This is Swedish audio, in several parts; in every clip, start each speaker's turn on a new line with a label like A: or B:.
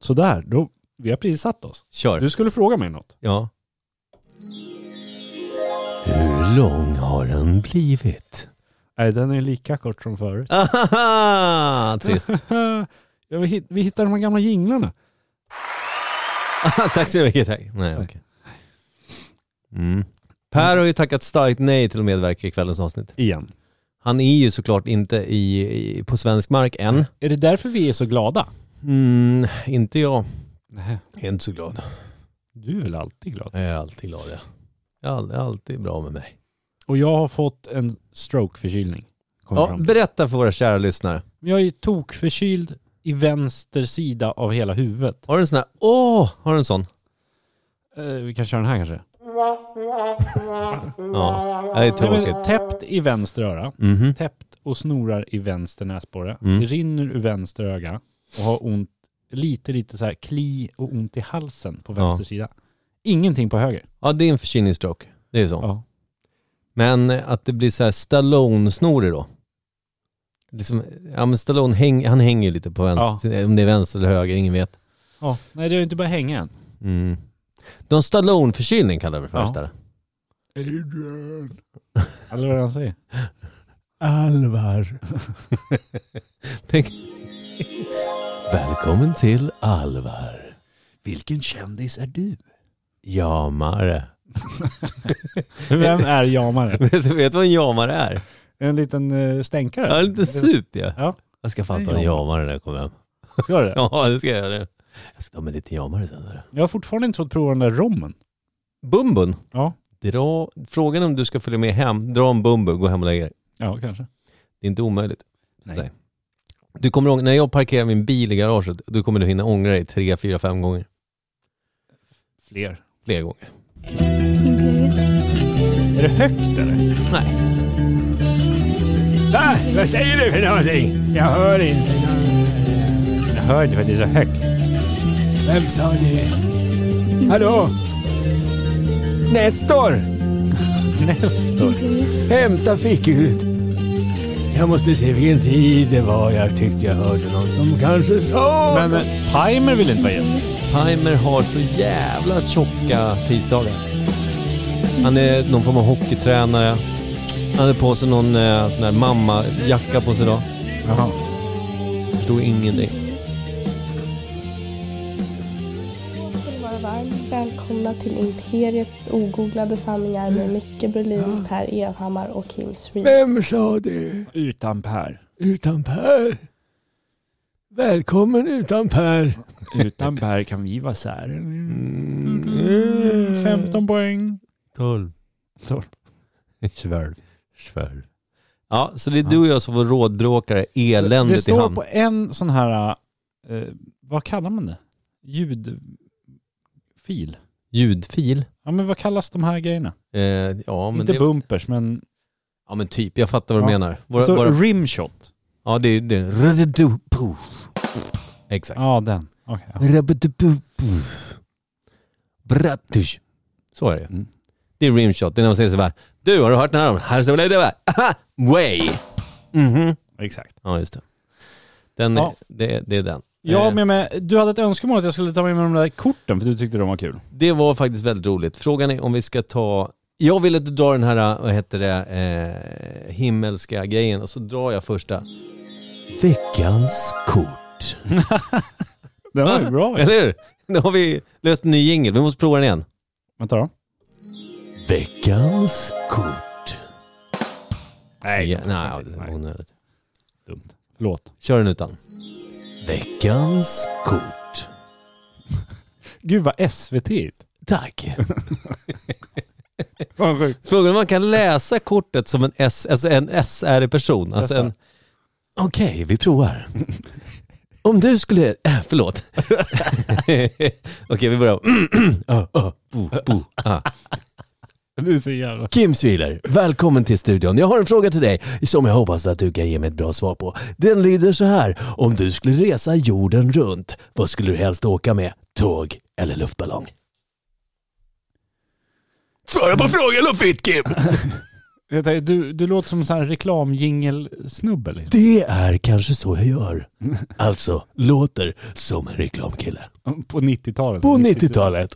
A: Sådär, då, vi har precis satt oss.
B: Kör.
A: Du skulle fråga mig något.
B: Ja. Hur lång har den blivit?
A: Nej, den är lika kort som förut.
B: Ahaha, trist.
A: ja, vi, hit, vi hittar de här gamla jinglarna.
B: Ah, tack så mycket. Tack. Nej, okej. mm. Per har ju tackat starkt nej till att medverka i kvällens avsnitt.
A: Igen.
B: Han är ju såklart inte i, i, på svensk mark än.
A: Är det därför vi är så glada?
B: Mm, inte jag.
A: Nej.
B: Jag är inte så glad.
A: Du är väl alltid glad?
B: Jag är alltid glad ja. Jag är all- alltid bra med mig.
A: Och jag har fått en strokeförkylning. kom jag
B: Ja,
A: fram till.
B: berätta för våra kära lyssnare.
A: Jag är tokförkyld i vänster sida av hela huvudet.
B: Har du en sån här, åh, har du en sån?
A: Eh, vi kan köra den här kanske.
B: Ja, det är
A: Nej,
B: tråkigt.
A: men, täppt i vänster öra.
B: Mhm.
A: Täppt och snorar i vänster näsborre.
B: Mm.
A: Det rinner ur vänster öga och har ont, lite lite så här kli och ont i halsen på
B: Ja.
A: vänster sida. Ingenting på höger.
B: Ja, det är en förkylningsstroke. Det är ju så.
A: Ja.
B: Men eh, att det blir så här Stallone-snorig då. Liksom, ja men Stallone, häng, han hänger ju lite på vänster, om det är vänster eller höger, ingen vet.
A: ja. Nej, det har ju inte börjat hänga än.
B: Mm. Du har en Stallone-förkylning kallar vi det för
A: Ja.
B: istället.
A: Adrian. Eller vad han säger.
B: Alvar. Tänk. Välkommen till Alvar.
A: Vilken kändis är du?
B: Jamare.
A: Vem är jamare?
B: Vet du vet du vad en jamare är?
A: En liten eh, stänkare?
B: Ja, en liten sup ja.
A: Ja.
B: Jag ska fan ta en
A: En jamare.
B: jamare när jag kommer hem.
A: Ska du det?
B: Ja, det ska jag göra. Jag ska ta med lite jamare sen. hörru.
A: Jag har fortfarande inte fått prova den där rommen.
B: Bumbun.
A: Ja.
B: Dra, frågan om du ska följa med hem, dra en bumbu, gå hem och lägga dig.
A: Ja, kanske.
B: Det är inte omöjligt.
A: Nej.
B: Nej. Du kommer ångra, när jag parkerar min bil i garaget, då kommer du hinna ångra dig tre, fyra, fem gånger.
A: Fler.
B: Fler gånger.
A: Är det högt eller?
B: Nej.
A: Va? Vad säger du för någonting? Jag hör inte. Jag hör inte för att det är så högt. Vem sa det? Hallå?
C: Nestor,
A: Nestor.
C: hämta fickhjulet. Jag måste se vilken tid det var jag tyckte jag hörde någon som kanske sa...
A: Men eh, Pimer vill inte vara gäst.
B: Heimer har så jävla tjocka tisdagar. Han är någon form av hockeytränare. Han hade på sig någon eh, sån där mammajacka på sig idag.
A: Jaha.
B: Förstod ingenting.
D: ska ni vara varmt välkomna till Imperiet ogooglade sanningar med Micke Berlin, Per Evhammar och Kim Sreed.
C: Vem sa det?
A: Utan Per.
C: Utan Per. Välkommen utan Per.
A: Utan Per kan vi vara sären.
B: Mm.
A: 15 poäng.
B: 12.
A: 12. 12.
B: Svärv. Ja, så det är du och jag som var rådbråkare eländet
A: Det
B: i
A: står
B: hamn.
A: på en sån här, eh, vad kallar man det? Ljudfil?
B: Ljudfil.
A: Ja men vad kallas de här grejerna?
B: Eh, ja, men
A: Inte
B: det,
A: bumpers men
B: ja, men typ. Jag fattar vad du
A: Ja.
B: menar.
A: det
B: Våra,
A: står
B: våra,
A: rimshot.
B: ja, det är... Det är Rududupu. Exakt.
A: Ja den. Okej.
B: Rududupu. Brattush. Så är det
A: Mm.
B: Det är rimshot. Det är när man säger sådär. Du, har du hört den här om? Här ser det där. Aha, Way. Mhm.
A: Exakt.
B: Ja, just det. Den är,
A: Mm-hmm. Ja.
B: det, det är den.
A: Ja
B: Eh,
A: men, men du hade ett önskemål att jag skulle ta med mig de där korten för du tyckte de var kul.
B: Det var faktiskt väldigt roligt. Frågan är om vi ska ta... Jag vill att du drar den här, vad heter det, eh, himmelska grejen och så drar jag första. Veckans kort.
A: Den var ju bra.
B: Eller hur? Nu har vi löst en ny jingel. Vi måste prova den igen.
A: Vänta då.
B: Veckans kort. Nej, ja, nej, det var
A: nej.
B: onödigt.
A: Dumt. Förlåt.
B: Kör den utan. Veckans kort.
A: Gud vad SVT igt.
B: Tack.
A: Fan sjukt.
B: Frågan om man kan läsa kortet som en, S, alltså en SR-person. Alltså en... Okej, vi provar. Om du skulle... Äh, förlåt. Okej, vi börjar. Ah, ah, bo, bo, ah.
A: Du är så jävla...
B: Kim Sviler, välkommen till studion. Jag har en fråga till dig som jag hoppas att du kan ge mig ett bra svar på. Den lyder så här. Om du skulle resa jorden runt, vad skulle du helst åka med? Tåg eller luftballong? Svara på frågan och fritt Kim!
A: Vänta, Du, du låter som en sån här reklamjingelsnubbe. Liksom.
B: Det är kanske så jag gör. Alltså, låter som en reklamkille.
A: liksom. På 90-talet.
B: På 90-talet.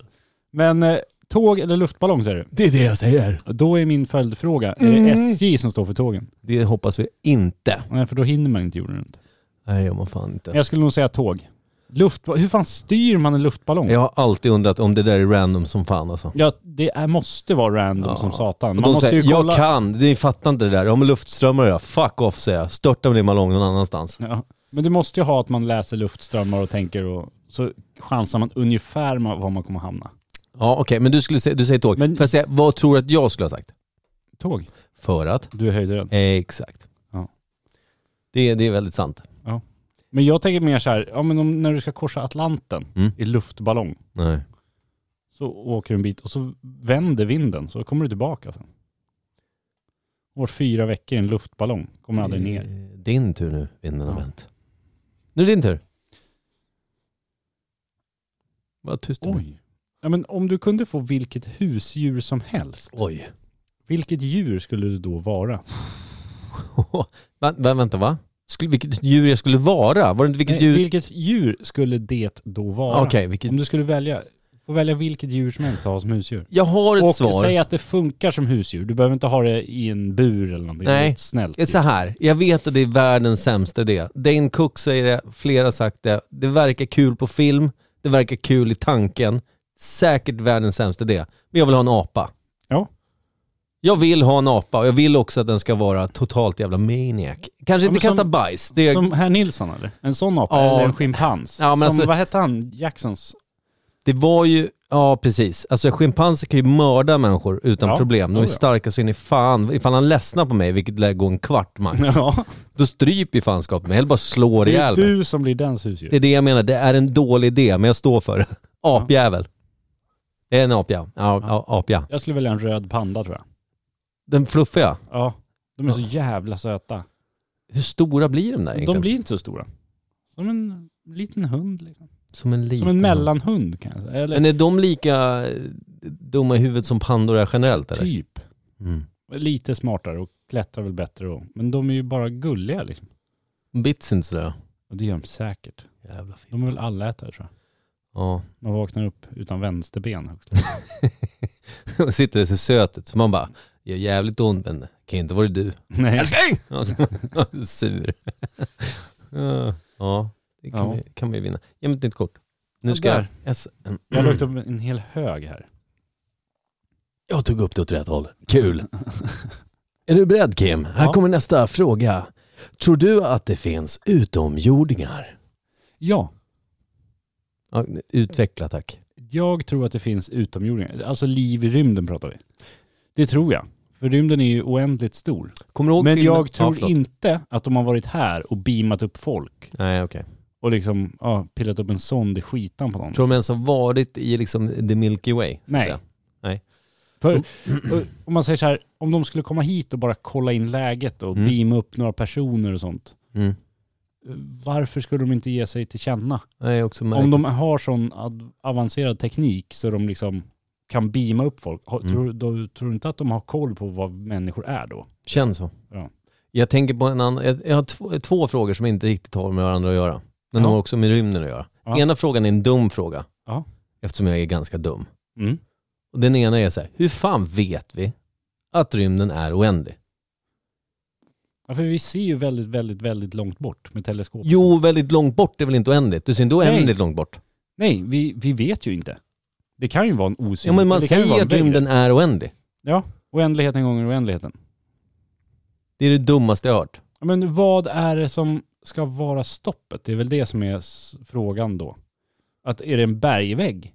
A: Men eh, tåg eller luftballong säger du?
B: Det är det jag säger.
A: Då är min följdfråga, är det SJ som står för tågen?
B: Det hoppas vi inte.
A: Nej, för då hinner man inte jorden runt.
B: Nej, gör man fan inte.
A: Jag skulle nog säga tåg. Luft, hur fan styr man en luftballong?
B: Jag har alltid undrat om det där är random som fan alltså.
A: Ja, det är, måste vara random
B: Ja.
A: som satan.
B: Och
A: Man
B: de
A: måste
B: säger,
A: ju kolla.
B: jag kan, ni fattar inte det där. Ja men luftströmmar ja, fuck off säger jag. Störta med din ballong någon annanstans.
A: Ja. Men du måste ju ha att man läser luftströmmar och tänker och så chansar man ungefär ma- var man kommer hamna.
B: Ja okej, men du, skulle säga, du säger tåg.
A: Men-
B: Får jag säga, vad tror du att jag skulle ha sagt?
A: Tåg.
B: För att?
A: Du är höjdrädd.
B: Exakt.
A: Ja.
B: Det, det är väldigt sant.
A: Men jag tänker mer så här, ja, men om, när du ska korsa Atlanten
B: Mm.
A: i luftballong
B: Nej.
A: så åker du en bit och så vänder vinden så kommer du tillbaka sen. År fyra veckor i en luftballong, kommer aldrig
B: Eh,
A: ner.
B: Din tur nu, vinden har
A: Ja.
B: vänt. Nu är det din tur. Vad tyst du blir.
A: Oj. Ja, men om du kunde få vilket husdjur som helst,
B: Oj.
A: vilket djur skulle du då vara?
B: va, va, vänta va? Skulle, vilket djur jag skulle vara? Var det inte vilket
A: Nej,
B: djur?
A: vilket djur skulle det då vara?
B: Ah, Okej, vilket...
A: Om du skulle välja, få välja vilket djur som helst att ha som husdjur.
B: Jag har ett
A: Och
B: svar.
A: säg att det funkar som husdjur. Du behöver inte ha det i en bur eller någonting.
B: Nej.
A: Det är ett snällt
B: Det är Eh, så här, jag vet att det är världens sämsta idé. Dane Cook säger det, flera har sagt det. Det verkar kul på film, det verkar kul i tanken. Säkert världens sämsta idé. Men jag vill ha en apa.
A: Ja.
B: Jag vill ha en apa och jag vill också att den ska vara totalt jävla maniac. Kanske
A: men
B: inte kasta
A: som-
B: bajs. Det är,
A: Som herr Nilsson eller? En sån apa?
B: Ja.
A: Eller en schimpans?
B: Ja, men
A: som,
B: alltså-
A: Vad hette han? Jacksons?
B: det var ju, ja precis. Alltså schimpanser kan ju mörda människor utan
A: Ja,
B: problem. De är
A: ja, ja.
B: starka så in i fan. Ifall han ledsnar på mig, vilket lär gå en kvart max,
A: Ja.
B: då stryper ju fanskapet mig. Eller bara slår
A: Det
B: ihjäl
A: är
B: mig.
A: du som blir dens
B: Det
A: husdjur.
B: är det jag menar, det är en dålig idé, men jag står för det. Apjävel. Det är en apja. Ja, ja. apja.
A: Jag skulle välja en röd panda tror jag.
B: Den fluffiga.
A: Ja. De är så jävla söta.
B: Hur stora blir de där egentligen?
A: De blir inte så stora. Som en liten hund liksom.
B: som en liten.
A: Som en mellanhund kan jag säga. Eller
B: Men är de lika eh, dumma i huvudet som pandor är generellt eller?
A: typ.
B: Mm.
A: Lite smartare och klättrar väl bättre och. Men de är ju bara gulliga liksom.
B: De Bits inte sådär.
A: Och det gör de säkert.
B: Jävla fint.
A: De är väl allätare tror jag.
B: Ja.
A: Man vaknar upp utan vänsterben högst.
B: De sitter och ser söt ut. Så man bara, gör jävligt ont men det kan ju inte vara du.
A: Nej.
B: Älskling! Ja, så- Sur. ja, det kan,
A: Ja.
B: Vi, kan vi vinna. Ge mig ett nytt kort. Nu
A: Ja,
B: ska jag...
A: där.
B: S-
A: Jag har lagt
B: Mm.
A: upp en hel hög här.
B: Jag tog upp det åt rätt håll. Kul. är du beredd Kim? Här
A: Ja.
B: kommer nästa fråga. Tror du att det finns utomjordingar?
A: Ja.
B: Ja, utveckla tack.
A: Jag tror att det finns utomjordingar. Alltså liv i rymden pratar vi. Det tror jag. För rymden är ju oändligt stor.
B: Kommer du ihåg
A: Men
B: filmen?
A: jag
B: Ja,
A: tror
B: förlåt.
A: inte att de har varit här och beamat upp folk
B: Nej okej.
A: och liksom ja, pillat upp en sond i skitan på någon.
B: Tror de ens har varit i liksom the Milky Way? så att
A: Nej.
B: säga?
A: För
B: Mm.
A: och- om man säger så här, om de skulle komma hit och bara kolla in läget och
B: Mm.
A: beama upp några personer och sånt. eh,
B: Mm.
A: Varför skulle de inte ge sig till känna?
B: Nej, också
A: Om
B: märkligt.
A: de har sån ad- avancerad teknik så de liksom kan beama upp folk, har,
B: Mm.
A: tror, då, tror du inte att de har koll på vad människor är då?
B: Känns så.
A: Ja.
B: Jag tänker på en annan, jag, jag har två, två frågor som inte riktigt har med varandra att göra.
A: Ja.
B: Men de har också med rymden att göra.
A: Ja.
B: Ena frågan är en dum fråga.
A: Ja.
B: Eftersom jag är ganska dum.
A: Mm.
B: Och den ena är så här, hur fan vet vi att rymden är oändlig?
A: Ja, för vi ser ju väldigt, väldigt, väldigt långt bort med teleskop.
B: Jo, väldigt långt bort är väl inte oändligt? Du ser inte oändligt långt bort?
A: Nej, vi, vi vet ju inte. Det kan ju vara en osynlig...
B: Ja, men man
A: det kan ju
B: säger
A: vara en
B: att rymden
A: vägg.
B: är oändlig.
A: Ja, oändligheten gånger oändligheten.
B: Det är det dummaste jag har hört.
A: Ja, men vad är det som ska vara stoppet? Det är väl det som är s- frågan då. Att är det en bergvägg?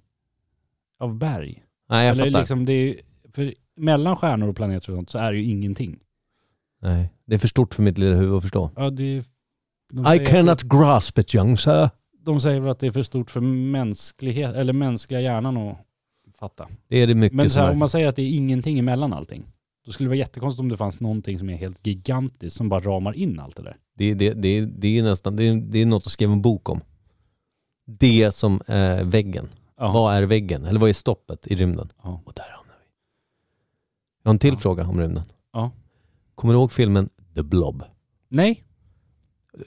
A: Av berg?
B: Nej, jag
A: Eller
B: fattar.
A: liksom det är ju, för mellan stjärnor och planeter och sånt så är det ju ingenting.
B: Nej, det är för stort för mitt lilla huvud att förstå.
A: Ja, det är, de,
B: I
A: säger
B: cannot
A: Att,
B: grasp it young sir.
A: de säger väl att det är för stort för mänsklighet, eller mänskliga hjärnan att fatta.
B: Det är det mycket
A: Men så här,
B: som
A: om
B: är.
A: man säger att det är ingenting emellan allting, då skulle det vara jättekonstigt om det fanns någonting som är helt gigantiskt som bara ramar in allt det där.
B: Det, det, det, det är nästan, det är, det är något att skriva en bok om. Det som är väggen.
A: Ja.
B: Vad är väggen? Eller vad är stoppet i rymden?
A: Ja.
B: Och där hamnar vi. Jag har en till
A: Ja.
B: fråga om rymden.
A: Ja.
B: Kommer du ihåg filmen The Blob?
A: Nej,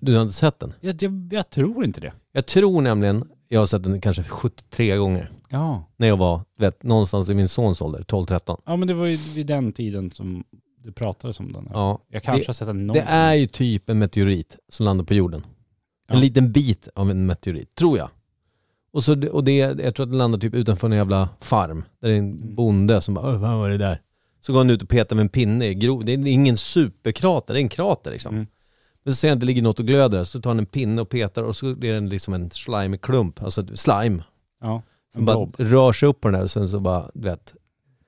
B: Du har inte sett den?
A: jag, jag, jag tror inte det.
B: Jag tror nämligen, jag har sett den kanske 73 gånger.
A: Ja.
B: När jag var, du vet, någonstans i min sons ålder, 12-13.
A: ja, men det var ju vid den tiden som du pratades om den.
B: Ja,
A: Jag kanske har sett den någon
B: Det är ju typ en meteorit som landar på jorden. En
A: Ja.
B: liten bit av en meteorit, tror jag. Och, så, och det, jag tror att den landar typ utanför en jävla farm. Där det är en
A: Mm.
B: bonde som bara, "Åh, vad var det där? Så går han ut och petar med en pinne i grov. Det är ingen superkrater, det är en krater liksom.
A: Mm.
B: Men så ser han att det ligger något och glöder, så tar han en pinne och petar och så är den liksom en slimig klump, alltså ett slime.
A: Ja,
B: Som
A: en
B: bara
A: blob
B: rör sig upp på den här och sen så bara, du vet,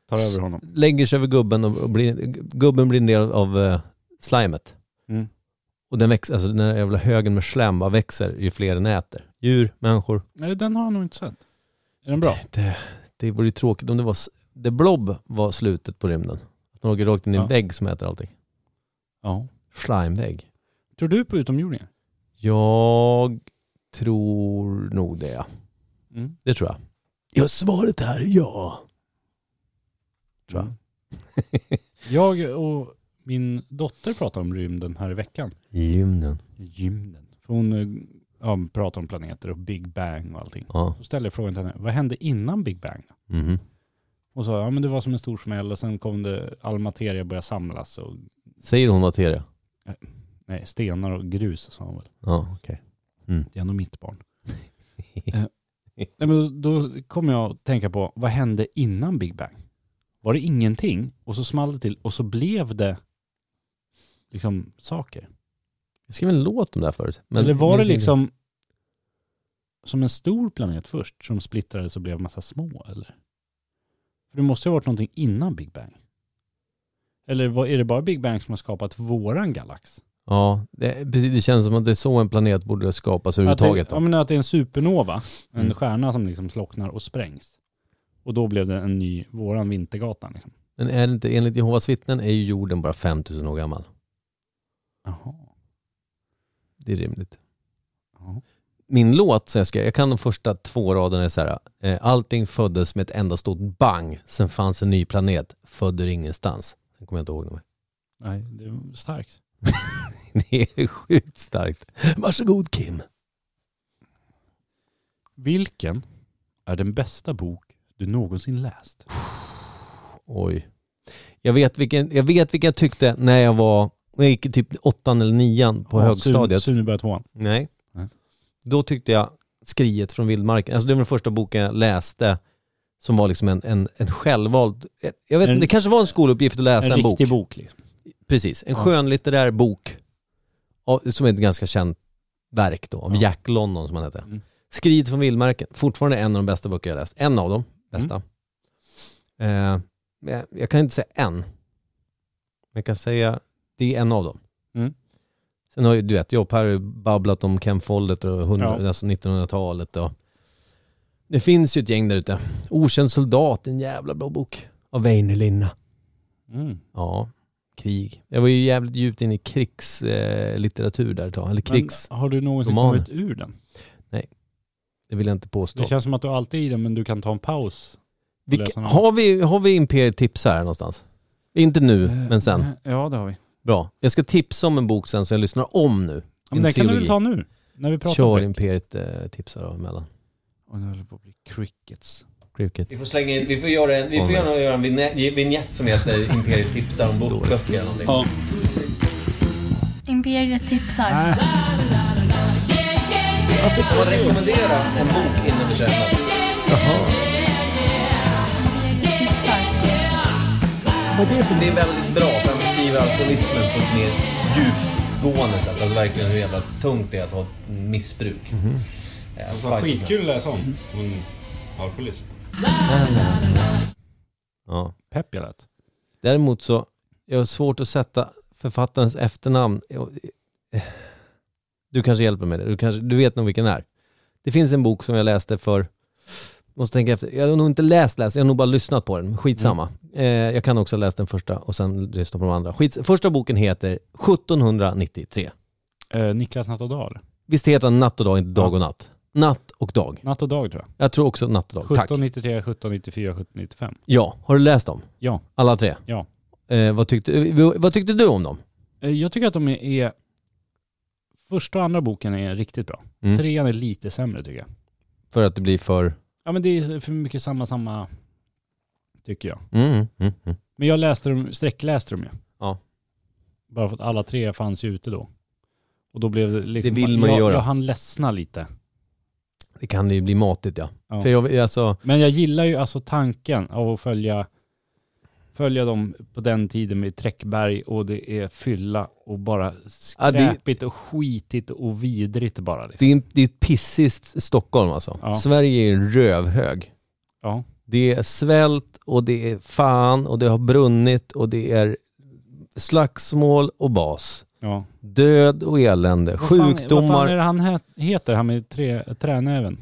A: tar över honom.
B: lägger sig över gubben och och blir, gubben blir en del av eh, slimet.
A: Mm.
B: Och den växer, alltså den här jävla högen med slem bara växer ju fler den äter. Djur, människor.
A: Nej, den har jag nog inte sett. Är den bra?
B: Det, det vore ju tråkigt om det var, s- The Blob var slutet på rymden. Att man åker rakt in i en
A: Ja.
B: vägg som äter allting.
A: Ja.
B: Slimevägg.
A: Tror du på utomjordingar?
B: Jag tror nog det ja.
A: Mm.
B: Det tror jag. Ja, svaret här är ja. Tror jag.
A: Mm. jag och min dotter pratade om rymden här i veckan.
B: Gymnen.
A: Gymnen. För hon eh, ja, pratar om planeter och Big Bang och allting.
B: Ja.
A: Så ställde jag frågan till henne, vad hände innan Big Bang?
B: Mhm.
A: Hon sa, ja men det var som en stor smäll och sen kom det, all materia började samlas och
B: Säger hon materia?
A: nej, stenar och grus sa hon väl.
B: Ja, okej.
A: Det är nog mitt barn. eh, nej, men då då kom jag att tänka på, vad hände innan Big Bang? Var det ingenting och så small det till och så blev det liksom saker?
B: Jag skrev en låt om det här förut. men-
A: Eller var det
B: minns inte.
A: liksom som en stor planet först som splittrades och blev massa små eller? För det måste ju ha varit någonting innan Big Bang. Eller vad- är det bara Big Bang som har skapat våran galax?
B: Ja, det, precis, det känns som att det är så en planet borde skapas
A: Att det,
B: överhuvudtaget.
A: ja,
B: Då.
A: men att det är en supernova, en
B: Mm.
A: stjärna som liksom slocknar och sprängs. Och då blev det en ny, våran Vintergatan. Liksom.
B: Men är det inte, enligt Jehovas vittnen är ju jorden bara 5000 år gammal.
A: Jaha.
B: Det är rimligt.
A: Ja.
B: Min låt, så jag, ska, jag kan de första två raderna är så här. eh, Allting föddes med ett enda stort bang, sen fanns en ny planet, född ur ingenstans. Sen kommer jag inte ihåg dem.
A: Nej, det är starkt.
B: Det är sjukt starkt. Varsågod Kim.
A: Vilken är den bästa bok du någonsin läst?
B: Oj. Jag vet vilken jag, vet vilken jag tyckte när jag var, när jag gick i typ åttan eller nian på
A: Ja,
B: högstadiet.
A: Sune, Sune börjar tvåan.
B: Nej.
A: Nej.
B: Då tyckte jag Skriet från vildmarken, alltså det var den första boken jag läste som var liksom en, en, en självvald, jag vet
A: En-
B: inte, det kanske var en skoluppgift att läsa en,
A: en
B: bok.
A: riktig bok. liksom.
B: Precis, en
A: Ja.
B: skönlitterär bok av, som är ett ganska känt verk då, av
A: Ja.
B: Jack London som han hette.
A: Mm.
B: Skriet från vildmarken, fortfarande en av de bästa böcker jag läst. En av dem,
A: Mm.
B: bästa. Eh, men jag- jag kan inte säga en. Men jag kan säga, det är en av dem.
A: Mm.
B: Sen har ju, du vet, jag och Per har ju babblat om Ken Follett och 100,
A: Ja.
B: alltså 1900-talet och det finns ju ett gäng där ute. Okänd soldat, en jävla bra bok. Av Väinö Linna.
A: Mm.
B: Ja, krig. Jag var ju jävligt djupt inne i krigslitteratur eh, litteratur där ett tag. Eller krigs,
A: Men har du någonsin
B: romaner.
A: kommit ur den?
B: det vill jag inte påstå.
A: Det känns som att du alltid är i den men du kan ta en paus.
B: Vilka-
A: läsa någon.
B: har, vi, har vi imperietips här någonstans? Inte nu, men sen.
A: Eh, Ja det har vi.
B: Bra. Jag ska tipsa om en bok sen som jag lyssnar om nu.
A: Ja, men den kan du
B: trilogi.
A: väl ta nu? När vi pratar
B: Kör
A: om det.
B: imperiet-tipsar då eh, emellan.
A: Och nu håller det på att bli crickets.
B: Cricket.
E: Vi får slänga in, vi får göra en, vi
B: Åh,
E: får
B: nej.
E: gärna göra en vinä- vignett som heter Imperiet tipsar om bokböcker eller någonting.
F: Imperiet tipsar.
A: Äh.
E: Man rekommenderar en bok innan vi köper den. Det är väldigt bra för han beskriver alkoholismen på ett mer djupgående sätt. Alltså verkligen hur jävla tungt det är att ha ett missbruk.
B: Mhm.
E: Eh, fight-
G: att läsa om. Hon alkoholist.
B: Ja.
A: Pepp jag lät.
B: Däremot så, jag har svårt att sätta författarens efternamn. Jag- Du kanske hjälper mig där. Du, kanske, du vet nog vilken det är. Det finns en bok som jag läste för, måste tänka efter, jag har nog inte läst, läst jag har nog bara lyssnat på den. Skitsamma. Eh, jag kan också ha läst den första och sen lyssna på de andra. Skits, första boken heter 1793.
A: Eh, Niklas Natt och Dag.
B: Visst heter den Natt och dag, inte Dag och natt? Natt och dag.
A: Natt och Dag tror jag.
B: Jag tror också Natt och dag. Tack.
A: 1793, 1794, 1795.
B: Ja, har du läst dem?
A: Ja.
B: Alla tre?
A: Ja.
B: Eh, Eh, vad, tyckte, eh, vad tyckte du om dem?
A: Eh, Jag tycker att de är- är... Första och andra boken är riktigt bra.
B: Mm.
A: Trean är lite sämre tycker jag.
B: För att det blir för...
A: Ja men det är för mycket samma, samma... Tycker jag.
B: Mm, mm, mm.
A: Men jag läste dem, sträckläste dem ju.
B: Ja.
A: Bara för att alla tre fanns ju ute då. Och då blev det liksom...
B: Det vill man ju
A: jag,
B: göra.
A: Jag hann ledsna lite.
B: Det kan ju bli matigt ja.
A: Ja.
B: För jag, alltså,
A: Men jag gillar ju alltså tanken av att följa, följa dem på den tiden med Träckberg och det är fylla och bara
B: Ja, det-
A: skräpigt och skitigt och vidrigt bara. Liksom.
B: det är det är ett pissigt Stockholm alltså.
A: Ja.
B: Sverige är en rövhög.
A: Ja.
B: Det är svält och det är fan och det har brunnit och det är slagsmål och bas.
A: ja.
B: Död och elände,
A: Vad fan- Vad fan är
B: sjukdomar.
A: det han he- heter, han med tre, tränäven?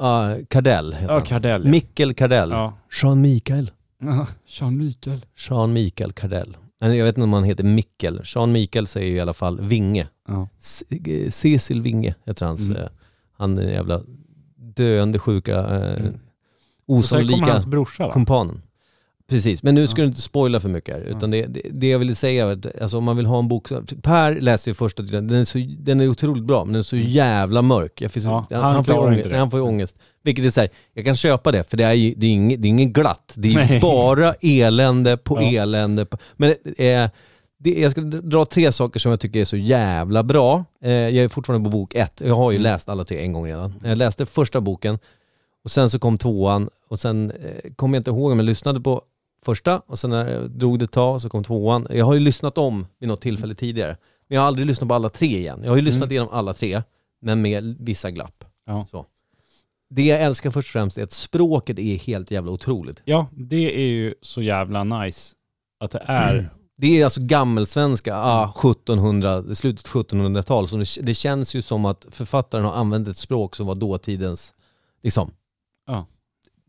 B: Ah, Kardell heter
A: Ja,
B: han.
A: Kardell. ja.
B: Mikkel Kardell.
A: Ja.
B: Jean Mikael.
A: Jean Mikael.
B: Jean Mikael Kardell. Nej, Jag vet inte om han heter Mikkel. Jean Mikael säger i alla fall Vinge.
A: Ja.
B: C- eh, Cecil Vinge heter hans.
A: Mm.
B: eh, Han är jävla döende sjuka, eh,
A: Mm. Och sen
B: osannolika.
A: kommer hans brorsa va?
B: Kumpanen. Precis, men nu ska
A: Ja.
B: du inte spoila för mycket här. Utan det, det, det jag ville säga var att alltså, om man vill ha en bok... så- Per läser ju första tiden, den är, så, den är otroligt bra, men den är så jävla mörk. Jag finns,
A: Mm. Ja,
B: han,
A: han
B: han, får ju
A: klarar
B: ångest,
A: inte det.
B: nej, han får ju ångest. Vilket är så här, jag kan köpa det, för det är ju det är inget, det är inget glatt. Det är ju
A: Nej.
B: bara elände på
A: Ja.
B: elände. På, men eh, det, jag ska dra tre saker som jag tycker är så jävla bra. Eh, jag är fortfarande på bok ett. Jag
A: Mm.
B: har ju läst alla tre en gång redan. Jag läste första boken och sen så kom tvåan och sen eh, kommer jag inte ihåg om jag lyssnade på första och sen när jag drog det ett tag så kom tvåan. Jag har ju lyssnat om vid något tillfälle tidigare. Men jag har aldrig lyssnat på alla tre igen. Jag har ju lyssnat
A: Mm.
B: igenom alla tre, men med vissa glapp.
A: Ja.
B: Så. Det jag älskar först och främst är att språket är helt jävla otroligt.
A: Ja, det är ju så jävla nice att det är.
B: Det är alltså gammelsvenska, ah, 1700, slutet 1700-tal. Så det, det känns ju som att författaren har använt ett språk som var dåtidens, liksom.
A: Ja.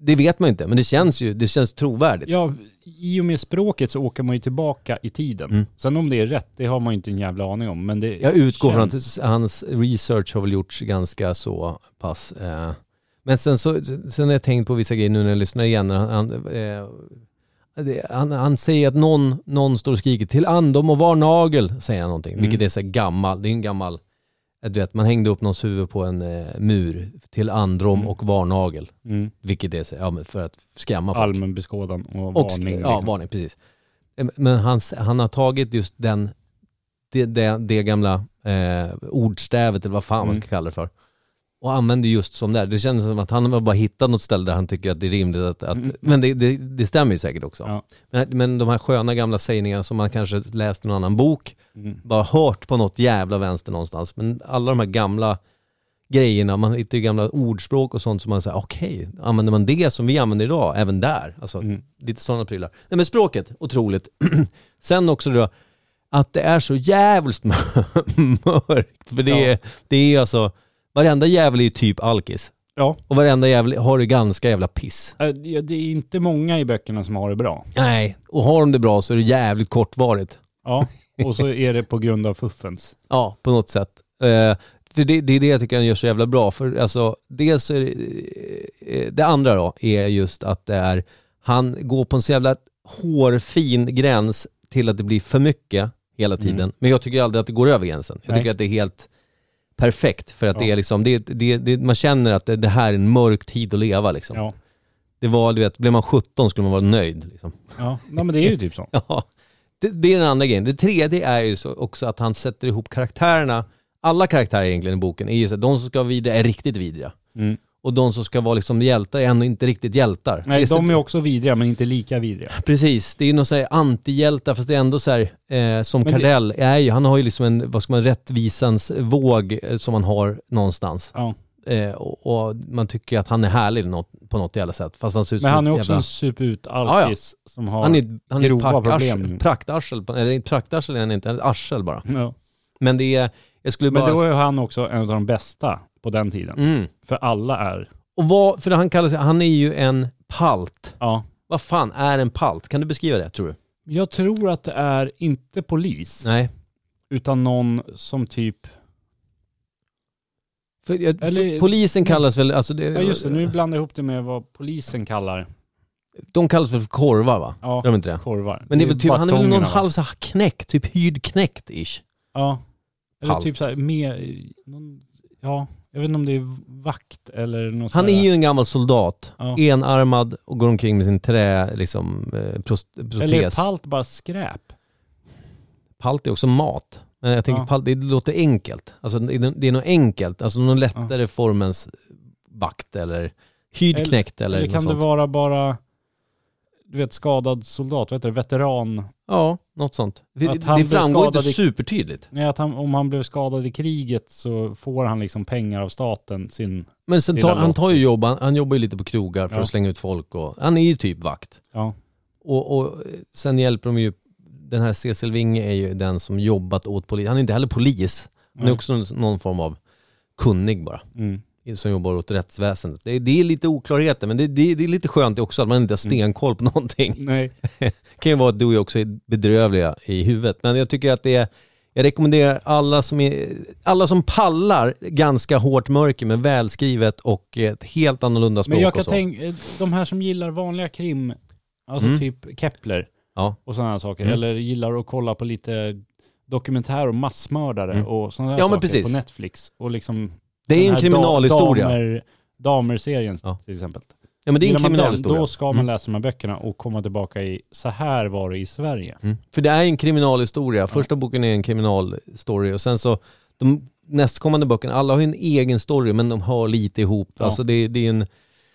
B: Det vet man inte, men det känns ju, det känns trovärdigt.
A: Ja, i och med språket så åker man ju tillbaka i tiden.
B: Mm.
A: Sen om det är rätt, det har man ju inte en jävla aning om. Men det
B: Jag utgår från
A: känns-
B: att hans research har väl gjorts ganska så pass. Eh. Men sen, så, sen har jag tänkt på vissa grejer nu när jag lyssnar igen. När han, han, eh, det, han, han säger att någon, någon står och skriker till andom och var nagel, säger han någonting.
A: Mm.
B: Vilket är så här gammal, det är en gammal, eh, du vet man hängde upp någons huvud på en eh, mur till androm
A: Mm.
B: och var nagel.
A: Mm.
B: Vilket är så, här, ja, men för att skrämma folk.
A: Allmän beskådan och,
B: Och,
A: varning.
B: ja,
A: liksom.
B: varning, precis. Men han, han har tagit just den, det, det, det gamla eh, ordstävet, eller vad fan man
A: Mm.
B: ska kalla det för, och använder just som det är. Det känns som att han har bara hittat något ställe där han tycker att det är rimligt att, att
A: Mm.
B: men det, det, det stämmer ju säkert också.
A: Ja.
B: Men, men de här sköna gamla sägningarna som man kanske läst i någon annan bok,
A: Mm.
B: bara hört på något jävla vänster någonstans, men alla de här gamla grejerna, man hittar ju gamla ordspråk och sånt som man säger, okej, använder man det som vi använder idag, även där? Alltså,
A: Mm.
B: Lite sådana prylar. Nej men språket, otroligt. Sen också då, att det är så jävligt mörkt. För det,
A: Ja.
B: är, det är ju alltså, varenda jävel är ju typ alkis.
A: Ja.
B: Och varenda jävel har det ganska jävla piss.
A: Eh, ja, Det är inte många i böckerna som har det bra.
B: Nej, och har de det bra så är det jävligt kortvarigt.
A: Ja, och så är det på grund av fuffens.
B: Ja, på något sätt. Eh, för det, det är det jag tycker han gör så jävla bra. För alltså, dels så är det, eh, det andra då är just att det är, han går på en så jävla hårfin gräns till att det blir för mycket hela tiden.
A: Mm.
B: Men jag tycker aldrig att det går över gränsen. Jag
A: Nej.
B: tycker att det är helt perfekt för att det
A: Ja.
B: är liksom, det, det, det, man känner att det, det här är en mörk tid att leva liksom.
A: Ja.
B: Det var, du vet, blev man 17 skulle man vara nöjd liksom.
A: Ja, Nej, men det är ju typ så.
B: Ja, det, det är den andra grejen. Det tredje är ju så också att han sätter ihop karaktärerna. Alla karaktärer egentligen i boken är ju så att de som ska vara vidriga är riktigt vidriga.
A: Mm.
B: Och de som ska vara liksom hjältar är ändå inte riktigt hjältar.
A: Nej,
B: det är
A: de är
B: så,
A: också vidriga, men inte lika vidriga.
B: Precis, det är ju någon sån här antihjältar fast det är ändå så här, eh, som
A: Men det-
B: Kardell är ju, han har ju liksom en, vad ska man, rättvisans våg eh, som han har någonstans.
A: Ja.
B: Eh, och, och man tycker ju att han är härlig något, på något jävla sätt. Fast han ser ut
A: Men
B: som
A: han är
B: ett
A: också
B: jävla-
A: en suputalkis som har...
B: han är, han är
A: grova
B: packarsel,
A: problem.
B: praktarsel, på- eller inte praktarsel är han inte, han är ett arsel bara.
A: ja.
B: Men det är, jag skulle
A: Men
B: bara...
A: då är han också en av de bästa på den tiden.
B: mm.
A: För alla är...
B: Och vad, för han kallar sig, han är ju en palt.
A: Ja.
B: Vad fan är en palt? Kan du beskriva det tror du?
A: Jag tror att det är inte polis,
B: Nej.
A: utan någon som typ...
B: För, jag,
A: Eller-
B: för polisen kallas väl, alltså det,
A: Ja just det, nu blandar jag ihop det med vad polisen kallar.
B: de kallas väl för korvar va?
A: Ja,
B: Gör de inte det?
A: korvar.
B: Men det är väl typ, han är väl någon
A: batongerna, va?
B: halv så här knäckt, typ hyrd knäckt ish.
A: Ja. Eller
B: Halt.
A: typ såhär med... Någon, ja, jag vet inte om det är vakt eller något
B: Han
A: sån
B: är
A: här-
B: ju en gammal soldat,
A: Ja.
B: enarmad och går omkring med sin trä, liksom, eh, prost, protes.
A: Eller är palt bara skräp?
B: Palt är också mat. Men jag tänker
A: Ja.
B: palt, det låter enkelt. Alltså, det är- det är något enkelt, alltså någon lättare formens vakt eller
A: Eller-
B: hyrd knäckt eller,
A: Eller,
B: något
A: kan det
B: sånt.
A: vara bara... Du vet skadad soldat, vad heter det? Veteran?
B: Ja, något sånt. Det,
A: Att han
B: det
A: blev
B: framgår inte
A: skadad i-
B: supertydligt.
A: Nej, att han, om han blev skadad i kriget så får han liksom pengar av staten, sin...
B: Men sen
A: Lilla
B: tar, han
A: Lottie.
B: tar ju jobb, han, han jobbar ju lite på krogar för
A: Ja.
B: att slänga ut folk och han är ju typ vakt.
A: Ja.
B: Och, och sen hjälper de ju, den här Cecil Winge är ju den som jobbat åt polis. Han är inte heller polis, han är
A: Nej.
B: också någon- någon form av kunnig bara,
A: Mm.
B: som jobbar åt rättsväsendet. Det, är- det är lite oklarheter, men det, det, det är lite skönt det också att man inte har
A: Mm.
B: stenkoll på någonting.
A: Nej.
B: Det kan ju vara att du och jag också är bedrövliga i huvudet, men jag tycker att det är jag rekommenderar alla som, är, alla som pallar ganska hårt mörker med välskrivet och ett helt annorlunda språk
A: Men jag kan
B: och så.
A: tänka, de här som gillar vanliga krim, alltså
B: Mm.
A: typ Kepler
B: Ja.
A: och sådana här saker,
B: Mm.
A: eller gillar att kolla på lite dokumentär om massmördare
B: Mm.
A: och sådana här
B: Ja, men
A: saker
B: precis.
A: på Netflix. Och liksom
B: Det
A: den
B: är en
A: här
B: kriminalhistoria.
A: Da, damer, damerserien
B: Ja.
A: till exempel.
B: ja, men det är en
A: Gillar man den,
B: kriminalhistoria.
A: Då ska man
B: Mm.
A: läsa de här böckerna och komma tillbaka i, så här var det i Sverige.
B: Mm. För det är en kriminalhistoria. Första boken är en kriminalstory och sen så de nästkommande böckerna, alla har ju en egen story men de hör lite ihop.
A: Ja.
B: Alltså det, det är en,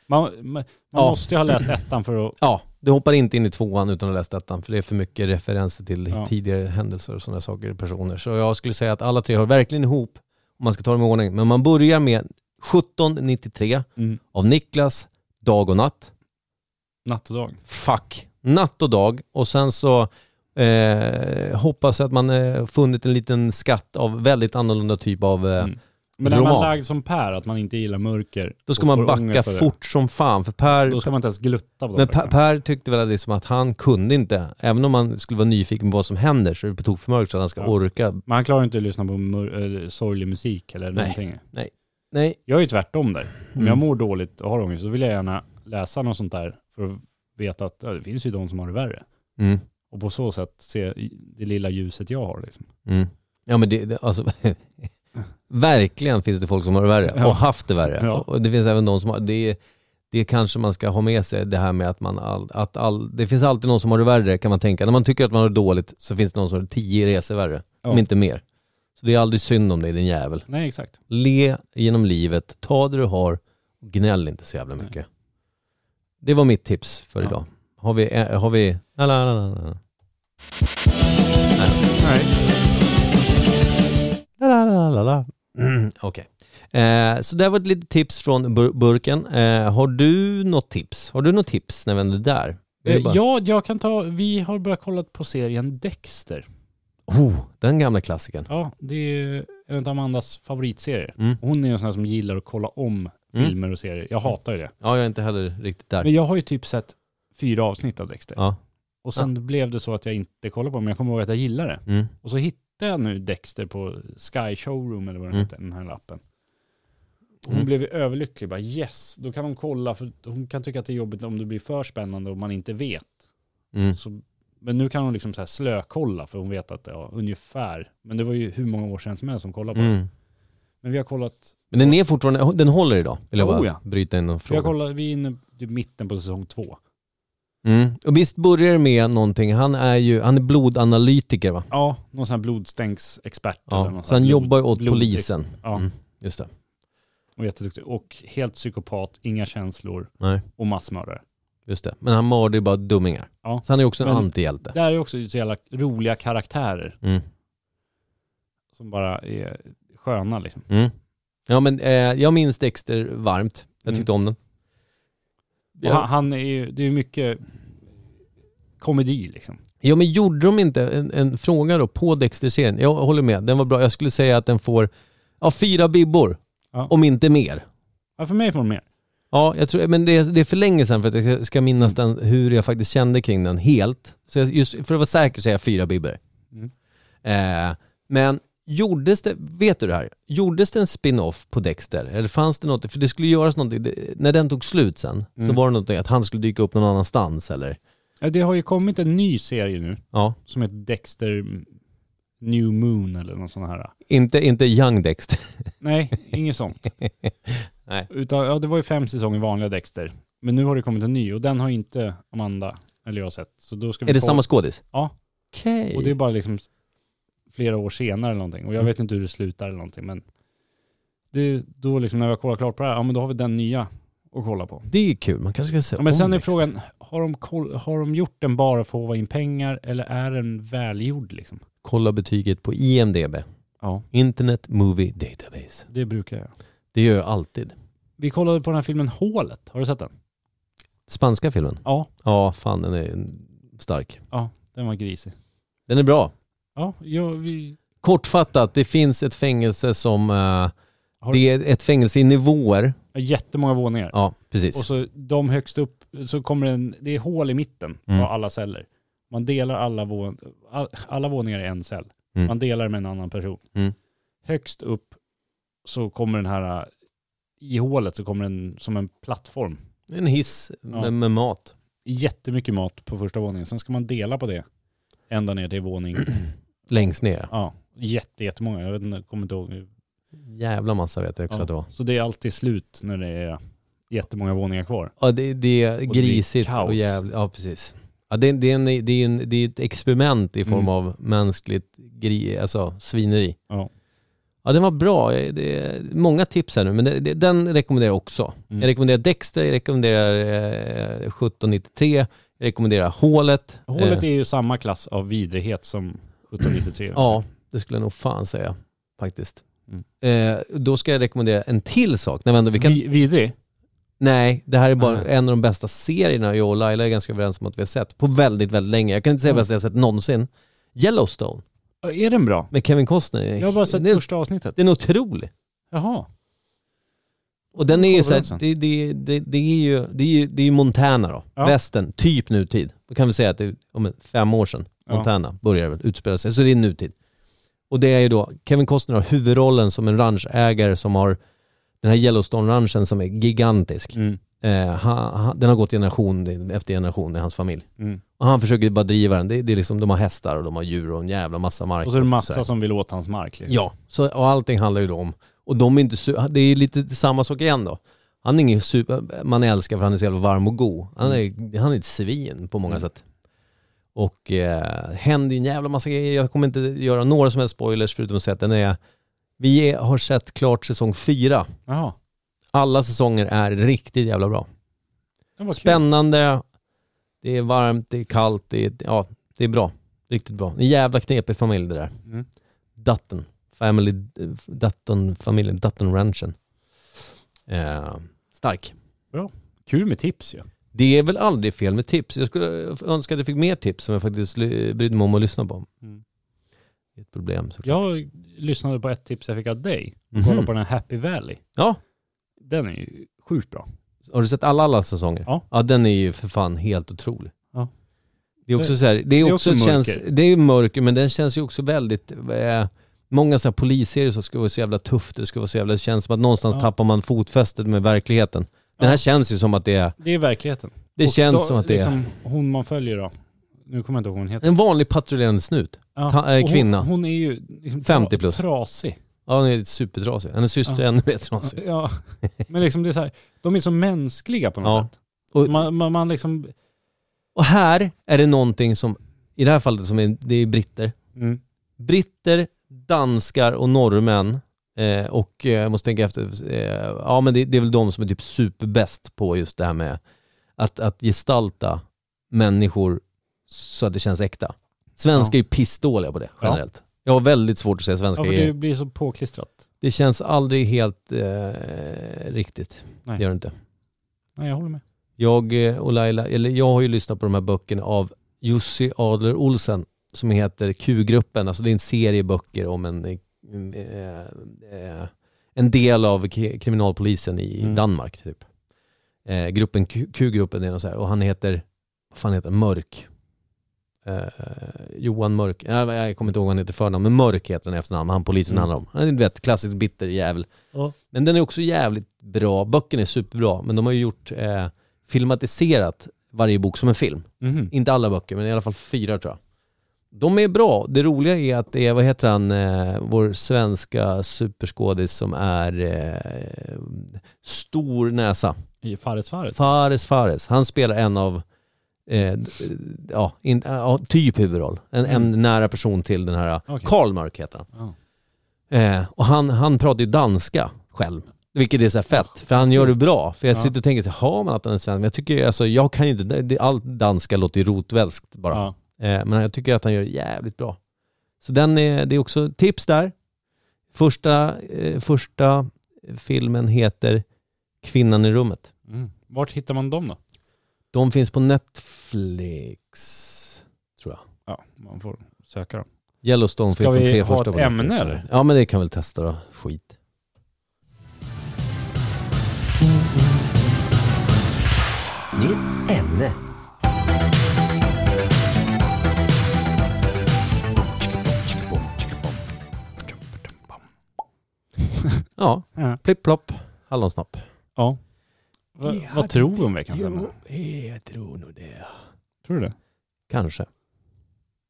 A: Man, man, man
B: Ja.
A: måste ju ha läst ettan för att...
B: ja, du hoppar inte in i tvåan utan att ha läst ettan för det är för mycket referenser till
A: Ja.
B: tidigare händelser och sådana saker, personer. Så jag skulle säga att alla tre hör verkligen ihop om man ska ta dem i ordning. Men man börjar med 1793
A: Mm,
B: av Niklas, Dag och Natt.
A: natt och dag.
B: fuck, natt och dag och sen så eh, hoppas jag att man eh, funnit en liten skatt av väldigt annorlunda typ av, eh,
A: Mm. Men när man
B: Roman.
A: lagd som Per, att man inte gillar mörker.
B: då ska
A: och
B: man
A: får
B: backa
A: ångest av det,
B: fort som fan för Per,
A: Då ska man inte ens glutta på de
B: men per,
A: böckerna.
B: per tyckte väl att det är som att han kunde inte, även om man skulle vara nyfiken på vad som händer så är det på tok för mörkt så att han ska
A: Ja.
B: orka.
A: Men han klarar ju inte att lyssna på mör- eh, sorglig musik eller någonting.
B: Nej,
A: Jag är ju tvärtom där. Om
B: Mm.
A: jag mår dåligt och har ångest så vill jag gärna läsa något sånt där för att veta att ja, det finns ju de som har det värre.
B: mm.
A: Och på så sätt se i- det lilla ljuset jag har liksom.
B: Mm. ja men det, det alltså verkligen finns det folk som har det värre
A: Ja.
B: och haft det värre.
A: Ja.
B: Och- Och det finns även de som har, det är, det kanske man ska ha med sig det här med att man all, att all, det finns alltid någon som har det värre kan man tänka. När man tycker att man har det dåligt så finns det någon som har det tio resor värre,
A: Ja.
B: om inte mer. Så det är aldrig synd om dig din jävel.
A: Nej, exakt.
B: Le genom livet, ta det du har och gnäll inte så jävla
A: Nej.
B: mycket. Det var mitt tips för
A: Ja.
B: idag. Har vi, eh, har vi, la, la, la, la, la.
A: Nej.
B: La, la, la, la, la. Mm, Okej. Eh, så det var ett litet tips från bur- burken. Eh, har du något tips? Har du något tips när vi ändå är där? Vill du bara-
A: Eh, Ja, jag kan ta, vi har börjat kolla på serien Dexter.
B: Oh, den gamla klassikern.
A: Ja, det är ju en av Amandas favoritserier.
B: Mm.
A: Hon är ju en sån här som gillar att kolla om
B: Mm.
A: filmer och serier. Jag hatar ju det.
B: Ja, jag är inte heller riktigt där.
A: Men jag har ju typ sett fyra avsnitt av Dexter.
B: Ja.
A: Och sen blev det så att jag inte kollade på dem, men jag kommer ihåg att jag gillade det.
B: Mm.
A: Och så hittade jag nu Dexter på Sky Showroom eller vad den
B: Mm.
A: hette, den här lappen. Hon
B: Mm.
A: blev ju överlycklig, bara yes, då kan hon kolla, för hon kan tycka att det är jobbigt om det blir för spännande och man inte vet.
B: Mm.
A: Så, men nu kan hon liksom så här slökolla, för hon vet att ja, ungefär, men det var ju hur många år sedan som helst som kollade på den.
B: Mm.
A: Men vi har kollat,
B: Men den är fortfarande, den håller idag, vill jag bara
A: Oh, ja.
B: bryta in och
A: vi, har
B: fråga.
A: kollat, vi är inne i mitten på säsong två.
B: Mm. Och visst börjar det med någonting, han är ju, han är blodanalytiker va?
A: Ja, någon sån här blodstänksexpert. eller
B: Ja.
A: någon
B: Så
A: sån här
B: han
A: blod-
B: jobbar ju åt
A: blodtex-
B: polisen.
A: Ja.
B: Mm. Just det.
A: Och jätteduktig. Och helt psykopat, inga känslor
B: Nej.
A: och massmördare.
B: Just det. Men han mördar ju bara dummingar.
A: Ja.
B: Så han är också en
A: Men-
B: antihjälte.
A: Där är också så jävla roliga karaktärer
B: Mm.
A: som bara är sköna liksom.
B: Mm. Ja men eh, jag minns Dexter varmt. Jag tyckte om den.
A: Mm. Och han, han är ju, det är ju mycket komedi liksom.
B: Ja men gjorde de inte en, en fråga då på Dexter-serien? Jag håller med, den var bra. Jag skulle säga att den får ja, fyra bibbor.
A: Ja.
B: Om inte mer.
A: Ja, för mig får de mer.
B: Ja, jag tror, men det, är- det är för länge sedan för att jag ska minnas
A: Mm.
B: den, hur jag faktiskt kände kring den helt. Så jag, just för att vara säker säger jag fyra bibbor.
A: Mm.
B: Eh, men Gjordes det, vet du det här, gjordes det en spin-off på Dexter? Eller fanns det något, för det skulle göras någonting, det, när den tog slut sen, så
A: Mm.
B: var det någonting att han skulle dyka upp någon annanstans eller?
A: Ja, det har ju kommit en ny serie nu
B: Ja,
A: som heter Dexter New Moon eller något sånt här.
B: inte, inte Young Dexter.
A: Nej, inget sånt.
B: Nej.
A: Utan, ja, det var ju fem säsonger vanliga Dexter. Men nu har det kommit en ny och den har inte Amanda eller jag sett. Så då ska vi
B: Är det
A: få-
B: samma skådis?
A: Ja.
B: Okej.
A: Och det är bara liksom flera år senare eller någonting.
B: Mm.
A: Och jag vet inte hur det slutar eller någonting. Men det, då liksom när vi har kollat klart på det här, ja men då har vi den nya att kolla på.
B: Det är kul, man kanske ska se
A: Ja, men
B: om
A: sen är
B: Dexter.
A: frågan, har de, koll, har de gjort den bara för att håva in pengar eller är den välgjord liksom?
B: Kolla betyget på IMDB,
A: Ja,
B: Internet Movie Database.
A: det brukar jag.
B: Det gör jag alltid.
A: Vi kollade på den här filmen Hålet, har du sett den?
B: Spanska filmen?
A: Ja,
B: Ja, fan den är stark.
A: den var grisig.
B: Den är bra.
A: Ja, ja vi...
B: Kortfattat, det finns ett fängelse som... eh,
A: Har-
B: det är ett fängelse i nivåer.
A: Jättemånga våningar.
B: Ja,
A: Och
B: precis.
A: så de högst upp, så kommer det en, det är hål i mitten
B: Mm.
A: av alla celler. Man delar alla, vån, all, alla våningar i en cell.
B: Mm.
A: Man delar med en annan person.
B: Mm.
A: Högst upp så kommer den här, äh, i hålet så kommer den som en plattform.
B: En hiss
A: Ja.
B: med, med mat.
A: Jättemycket mat på första våningen. Sen ska man dela på det ända ner till våning.
B: Längst ner.
A: Ja, jätte, jättemånga. Jag vet inte, kommer inte ihåg.
B: Jävla massa vet jag också
A: Ja.
B: att det var.
A: Så det är alltid slut när det är jättemånga våningar kvar.
B: Ja, det, det är
A: det är
B: grisigt och,
A: kaos.
B: jävligt. Ja, precis. Ja, det, det, är en, det, är en, det är ett experiment i form
A: Mm.
B: av mänskligt gri, alltså svineri.
A: Ja.
B: Ja, den var bra. Jag- Det är många tips här nu, men det, det, den rekommenderar jag också.
A: Mm.
B: Jag rekommenderar Dexter, jag rekommenderar eh, 1793, jag rekommenderar Hålet.
A: Hålet
B: Eh,
A: är ju samma klass av vidrighet som 1793.
B: Ja, det skulle jag nog fan säga faktiskt.
A: Mm.
B: Eh, då ska jag rekommendera en till sak. Nej, men ändå, vi kan...
A: Vi, vidrig?
B: Nej, det här är bara
A: Nej.
B: en av de bästa serierna jag och Laila är ganska överens om att vi har sett på väldigt, väldigt länge. Jag kan inte säga
A: Mm.
B: bästa jag har sett någonsin. Yellowstone
A: Ja, Är den bra?
B: med Kevin Costner.
A: Jag har bara sett
B: det, är-
A: första avsnittet.
B: det är en otrolig.
A: Jaha.
B: Och den är ju
A: Kolla på
B: så
A: den
B: här,
A: sen.
B: det, det, det, det är ju, det är ju det är ju Montana då.
A: Ja.
B: Västern, typ nutid. Då kan vi säga att det är om en- fem år sedan
A: Ja.
B: Montana börjar väl utspela sig. Så det är nutid. Och det är ju då, Kevin Costner har huvudrollen som en ranchägare som har den här Yellowstone-ranchen som är gigantisk.
A: Mm.
B: Eh, han, han, den har gått generation efter generation i hans familj.
A: Mm.
B: Och han försöker bara driva den. Det, det är liksom, de har hästar och de har djur och en jävla massa mark.
A: Och så är det
B: så här.
A: massa som vill åt hans mark. Liksom.
B: Ja, så, och allting handlar ju då om... Och de är inte su- Det är lite samma sak igen då. Han är ingen super... Man älskar för han är så jävla varm och god. Han är, han är ett svin på många
A: Mm.
B: sätt. Och eh, händer ju en jävla massa grejer. Jag kommer inte göra några som helst spoilers förutom att säga att den är... Vi är, har sett klart säsong fyra.
A: Jaha.
B: Alla säsonger är riktigt jävla bra.
A: Den var kul.
B: Spännande, det är varmt, det är kallt, det är, ja, det är bra. Riktigt bra. En jävla knepig familj det där.
A: Mm.
B: Dutton. Family, eh, Dutton, familjen, Dutton Ranchen. Eh, stark.
A: Kul med tips ju.
B: Det är väl aldrig fel med tips. Jag skulle önska att jag fick mer tips som jag faktiskt ly- brydde mig om att lyssna på.
A: Mm.
B: Det är ett problem. såklart.
A: Jag lyssnade på ett tips jag fick av dig.
B: Mhm.
A: Kolla på den här Happy Valley.
B: Ja.
A: Den är ju sjukt bra.
B: Har du sett alla, alla säsonger?
A: Ja.
B: ja. den är ju för fan helt otrolig.
A: Ja.
B: Det är också så här, det är,
A: är
B: också,
A: också
B: känns,
A: mörker.
B: det är mörker men den känns ju också väldigt, eh, många så här polisserier som ska vara så jävla tufft, det ska vara så jävla, det känns som att någonstans
A: Ja.
B: tappar man fotfästet med verkligheten. Den här
A: Ja.
B: känns ju som att det är,
A: Det är verkligheten.
B: det
A: Och
B: känns
A: då-
B: som att det är
A: liksom, Hon man följer då. Nu kommer jag inte ihåg vad hon heter.
B: en vanlig patrullerande snut.
A: Ja.
B: ta- eh,
A: och hon-
B: kvinna.
A: Hon, är ju liksom,
B: 50 plus.
A: trasig.
B: Ja hon är supertrasig, hennes syster
A: Ja.
B: är ännu mer trasig.
A: Ja. Men liksom det är så här, de är så mänskliga på något
B: Ja.
A: sätt.
B: Och-
A: man, man, man liksom...
B: Och här är det någonting som, i det här fallet som är, det är britter,
A: Mm.
B: britter, danskar och norrmän eh, och eh, jag måste tänka efter, eh, ja men det, det är väl de som är typ superbäst på just det här med att, att gestalta människor så att det känns äkta. Svenskar är ju pissdåliga på det generellt. Jag har väldigt svårt att säga
A: Ja,
B: svenska
A: för
B: grejer.
A: det
B: Det...
A: blir så påklistrat.
B: känns aldrig helt eh, riktigt.
A: Nej.
B: Det gör det inte.
A: Nej, jag håller med.
B: Jag eh, och Laila, eller jag har ju lyssnat på de här böckerna av Jussi Adler Olsen som heter Q-gruppen, alltså det är en serie böcker om en, eh, eh, eh, en del av kri- kriminalpolisen i
A: Mm.
B: Danmark. Typ. Eh, gruppen Q- Q-gruppen är någon så här, och han heter, vad fan heter han? Mörk. eh, Johan Mörk, jag, jag kommer inte ihåg vad han heter i förnamn, men Mörk heter han i efternamn, han polisen handlar om. Han är en vet, klassisk bitter jävel.
A: Mm. Ja.
B: Men den är också jävligt bra, böckerna är superbra, men de har ju gjort, eh, filmatiserat varje bok som en film.
A: Mhm.
B: Inte alla böcker, men i alla fall fyra tror jag. De är bra. Det roliga är att det är, vad heter han, eh, vår svenska superskådis som är eh, stor näsa.
A: I Fares Fares.
B: Fares Fares. Han spelar en av, eh, d- ja, in, ja, typ huvudroll. En, en nära person till den här,
A: Mm. Okej.
B: Karl Mörk heter han.
A: Ja.
B: Eh, och han, han pratar ju danska själv. Vilket är så här fett, för han gör det bra. För jag
A: Ja.
B: sitter och tänker, så här, har man att han är svensk? Men jag tycker, ju, alltså, jag kan ju inte, det, allt danska låter ju rotvälskt bara.
A: Ja.
B: Eh, Men jag tycker att han gör det jävligt bra. Så den är, det är också tips där. Första, eh, första filmen heter Kvinnan i rummet.
A: Mm. Vart hittar man dem då?
B: De finns på Netflix, tror jag.
A: Ja, man får söka dem.
B: Yellowstone
A: Ska
B: finns de
A: vi
B: tre
A: ha
B: första
A: ett
B: på Netflix.
A: ämne, eller?
B: Ja, men det kan vi väl testa då. Skit.
E: Nytt ämne.
B: Ja,
A: Ja.
B: plipp plopp, hallonsnopp.
A: ja. Va,
C: Ja,
A: vad
C: det-
A: tror du om veckans ämne?
C: Jo, eh, jag tror nog det.
A: Tror du det?
B: Kanske.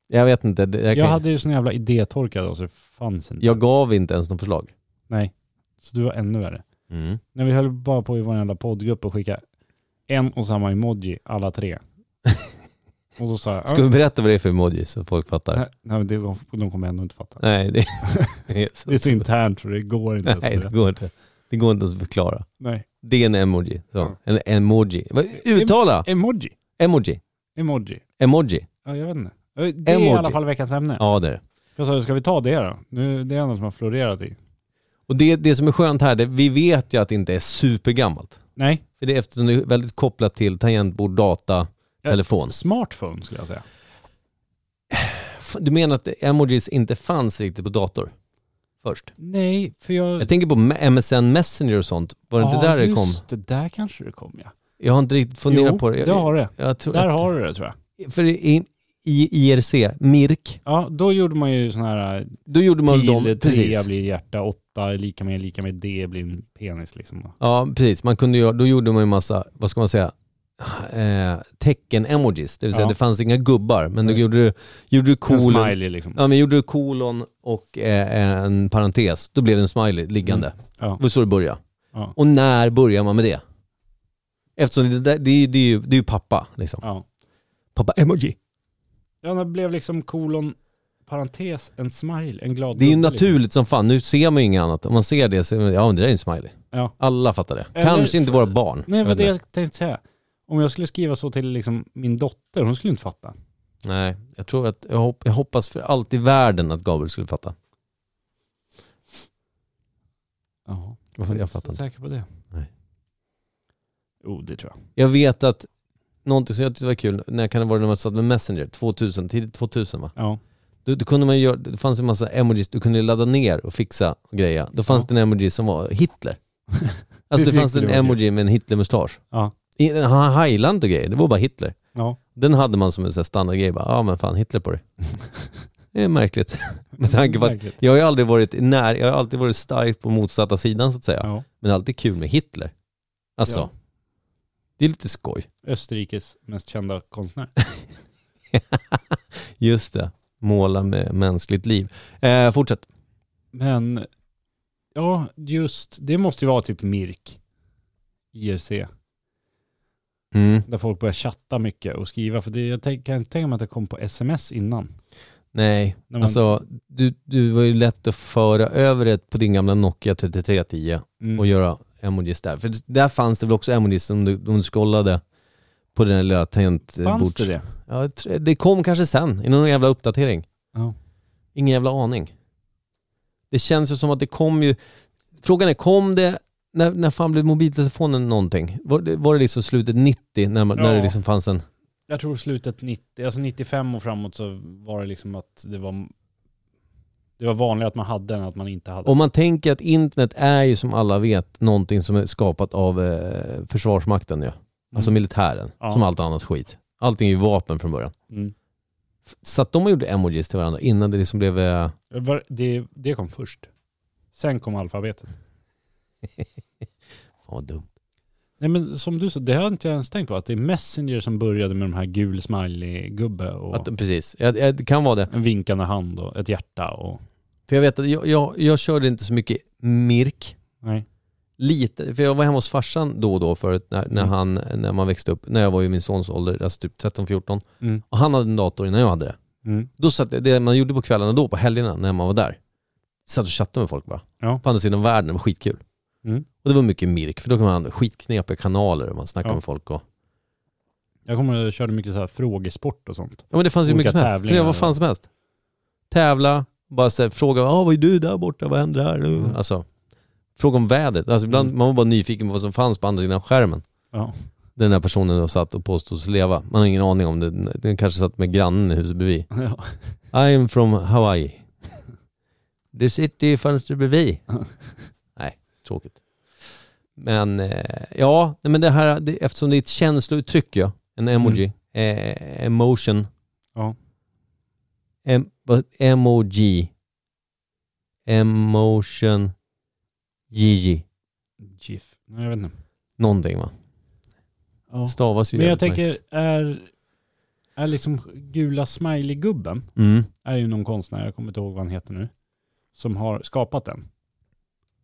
B: Jag vet inte. det- Jag,
A: Jag,
B: kan, jag,
A: hade ju sån jävla idétorka då så det fanns inte.
B: gav inte ens någon förslag.
A: Nej. Så du var ännu värre. När vi höll bara på i vår jävla poddgrupp och skicka en och samma emoji alla tre. och så sa jag...
B: Ska vi berätta vad det är för emoji så folk fattar?
A: Nej, nej men det, de- de kommer ändå inte fatta.
B: Nej, det, det är så
A: Det är så internt så det går inte. ens
B: Nej,
A: att
B: det
A: berätta.
B: går inte. Det går inte ens att förklara.
A: nej.
B: Det är en emoji. Så.
A: Ja.
B: En emoji. Vad- Uttala!
A: Emoji.
B: Emoji.
A: Emoji.
B: Emoji.
A: Ja, jag vet inte. Det är i
B: Emoji.
A: alla fall veckans ämne.
B: Ja, det är det.
A: Jag sa, ska vi ta det då? Nu, det är något som har florerat i.
B: Och det, det som är skönt här, det, vi vet ju att det inte är supergammalt.
A: Nej,
B: För det är eftersom det är väldigt kopplat till tangentbord, data,
A: Ja.
B: telefon.
A: smartphone skulle jag säga.
B: F- Du menar att emojis inte fanns riktigt på dator först?
A: Nej, för jag...
B: Jag tänker på M- MSN Messenger och sånt. Var det inte där det kom?
A: just det. Där kanske det kom ja.
B: Jag har inte riktigt funderat
A: jo,
B: på det. Jag,
A: det har det.
B: jag tror
A: Där
B: att,
A: har du det tror jag.
B: För i, i IRC, MIRK,
A: Ja, då gjorde man ju sån här eh,
B: då gjorde man
A: pil,
B: dem...
A: trea blir hjärta, åtta är lika med, lika med, D blir en penis liksom.
B: Ja, precis. Man kunde göra, då gjorde man ju massa, vad ska man säga, eh, tecken-emojis. Det vill säga
A: Ja.
B: det fanns inga gubbar, men då
A: Nej.
B: gjorde du, gjorde du
A: En
B: kolon,
A: smiley liksom.
B: ja, men gjorde du kolon och eh, en parentes, då blev det en smiley liggande.
A: Mm. Ja.
B: Det var så det började.
A: Ja.
B: Och när börjar man med det? Eftersom det, där, det, är- det, är, ju, det är ju pappa, liksom.
A: Ja.
B: Pappa-emoji.
A: ja, det blev liksom kolon, parentes, en smile, en glad
B: Det är ju
A: gubbe, liksom.
B: naturligt som fan, nu ser man ju inget annat. Om man ser det så, ja men det där är ju en smiley.
A: Ja.
B: Alla fattar det.
A: Eller-
B: Kanske inte våra barn.
A: Nej,
B: Jag
A: vad
B: vet
A: det
B: inte.
A: jag tänkte säga. Om jag skulle skriva så till liksom min dotter, hon skulle inte fatta.
B: Nej, jag tror att, jag, hop, jag hoppas för allt i världen att Gabriel skulle fatta.
A: Jaha.
B: Jag,
A: Jag
B: fattar
A: är
B: inte.
A: säker på det.
B: Nej.
A: Jo, det tror jag.
B: Jag vet att någonting som jag tyckte var kul, när kan det vara när man satt med Messenger, 2000, tidigt 2000 va?
A: Ja.
B: Då, då kunde man göra, det fanns en massa emojis, du kunde ladda ner och fixa och greja. Då fanns det en emoji som var Hitler. Alltså det
A: Hitler
B: fanns en
A: var kul.
B: emoji med en Hitler-mustasch.
A: Ja.
B: I- Han hade Highland och grejer, det var bara Hitler.
A: Ja.
B: Den hade man som en sån här standardgrej, bara, ja men fan Hitler på det. Det är märkligt. Med tanke på att
A: Märkligt.
B: jag har ju aldrig varit när, jag har alltid varit starkt på motsatta sidan så att säga.
A: Ja.
B: Men alltid kul med Hitler. Alltså,
A: Ja.
B: det är lite skoj.
A: Österrikes mest kända konstnär.
B: Just det, måla med mänskligt liv. Eh, fortsätt.
A: Men, ja, just, det måste ju vara typ Mirk. IRC.
B: Mm.
A: Där folk börjar chatta mycket och skriva. För det, jag tänk, kan inte tänka mig att det kom på sms innan.
B: Nej,
A: När man,
B: alltså du, du var ju lätt att föra över det på din gamla Nokia 3310
A: mm,
B: och göra emojis där. För där fanns det väl också emojis om du, om du scrollade på den där lilla
A: Fanns det
B: tangentbords...
A: det?
B: Ja, jag tror- det kom kanske sen, i någon jävla uppdatering.
A: Ja.
B: Ingen jävla aning. Det känns ju som att det kom ju... Frågan är, kom det... När, när fan blev mobiltelefonen någonting? Var det, var det liksom slutet 90 när, man, när det
A: Ja.
B: liksom fanns en...
A: Jag tror slutet 90, alltså 95 och framåt så var det liksom att det var det var vanligare att man hade än att man inte hade.
B: Om man tänker att internet är ju som alla vet någonting som är skapat av eh, Försvarsmakten ju. Alltså militären,
A: Mm. Ja.
B: som allt annat skit. Allting är ju vapen från början.
A: Mm.
B: Så att de gjorde emojis till varandra innan det liksom blev... eh,
A: Var- Det, det kom först. Sen kom alfabetet.
B: Fan vad dumt.
A: Nej men som du sa, det har jag inte ens tänkt på. Att det är Messenger som började med de här gul smiley-gubbe och
B: Att, precis, jag, jag, det kan vara det.
A: en vinkande hand och ett hjärta och...
B: För jag vet att jag, jag, jag körde inte så mycket Mirk.
A: Nej.
B: Lite, för jag var hemma hos farsan då och då förut när, när,
A: Mm.
B: han, när man växte upp, när jag var i min sons ålder, alltså typ 13-14.
A: Mm.
B: Och han hade en dator innan jag hade det.
A: Mm.
B: Då satt jag, det man gjorde på kvällarna då, på helgerna, när man var där, satt och chattade med folk bara.
A: Ja.
B: På andra sidan världen, det var skitkul.
A: Mm.
B: Och det var mycket Mirk, för då kan man ha skitknepiga kanaler och man snackar
A: Ja.
B: med folk och
A: Jag kommer ihåg att jag körde mycket så här frågesport och sånt.
B: Ja men det fanns ju
A: Olika
B: mycket som helst.
A: tävlingar.
B: Kunde göra vad fan som helst. Tävla, bara så här, fråga, ah, vad är du där borta, vad händer här?
A: Mm.
B: Alltså, fråga om vädret. Alltså, ibland, Man var bara nyfiken på vad som fanns på andra sidan skärmen.
A: Ja.
B: Den där personen då satt och påstods leva. Man har ingen aning om det. Den kanske satt med grannen i huset bredvid.
A: Ja.
B: I am from Hawaii. Du sitter i fönstret bredvid. Nej, tråkigt. Men eh, ja, nej, men det här, det, eftersom det är ett känslouttryck ja, en emoji, eh, emotion.
A: Mm. Ja.
B: Em, vad- emoji. Emotion. Gigi.
A: GIF. Nej, jag vet inte.
B: Någonting va?
A: Ja.
B: Stavas ju
A: Men jag
B: jävligt
A: tänker,
B: märkligt.
A: är, är liksom gula smiley-gubben,
B: Mm.
A: är ju någon konstnär, jag kommer inte ihåg vad han heter nu, som har skapat den.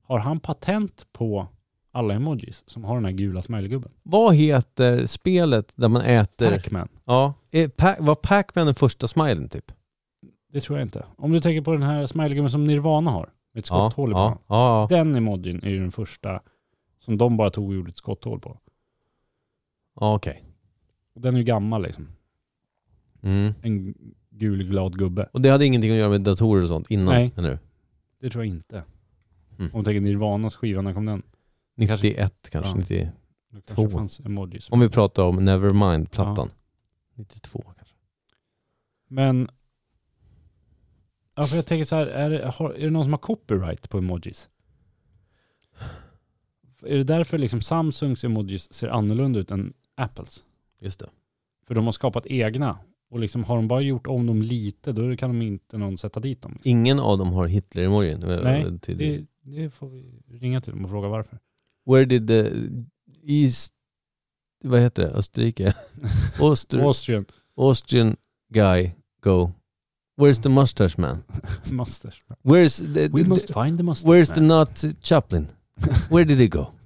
A: Har han patent på alla emojis som har den här gula smileygubben?
B: Vad heter spelet där man äter?
A: Pac-Man.
B: Ja. Är Pac- var Pac-Man den första smilen typ?
A: Det tror jag inte. Om du tänker på den här smileygubben som Nirvana har, med ett
B: Ja,
A: skotthål i
B: ja,
A: pannan.
B: ja, ja,
A: Den emojin är ju den första som de bara tog och gjorde ett skotthål på.
B: ja okej.
A: Och den är ju gammal liksom.
B: Mm.
A: En gul glad gubbe.
B: Och det hade ingenting att göra med datorer och sånt innan?
A: Nej.
B: Eller? hur?
A: Det tror jag inte.
B: Mm.
A: Om du tänker Nirvanas skiva, när kom den?
B: 91 kanske,
A: Ja.
B: 90.
A: Då kanske det
B: Två.
A: fanns emojis.
B: Om vi pratar om Nevermind-plattan. 92 kanske.
A: Men... Ja, för jag tänker så här, är det, har, är det någon som har copyright på emojis? Är det därför liksom Samsungs emojis ser annorlunda ut än Apples?
B: Just det.
A: För de har skapat egna. Och liksom har de bara gjort om dem lite, då kan de inte någon sätta dit dem.
B: Ingen av dem har Hitler-emojin. eh,
A: Nej,
B: Till-
A: Det, det får vi ringa till dem och fråga varför.
B: Where did the East... Vad heter det? Österrike? Oster,
A: Austrian
B: Austrian guy go. Where's the mustache man?
A: Masters.
B: Where's the,
A: We
B: the-
A: must find the Mustard
B: where's the
A: Man.
B: Nazi Chaplin? Where did he go?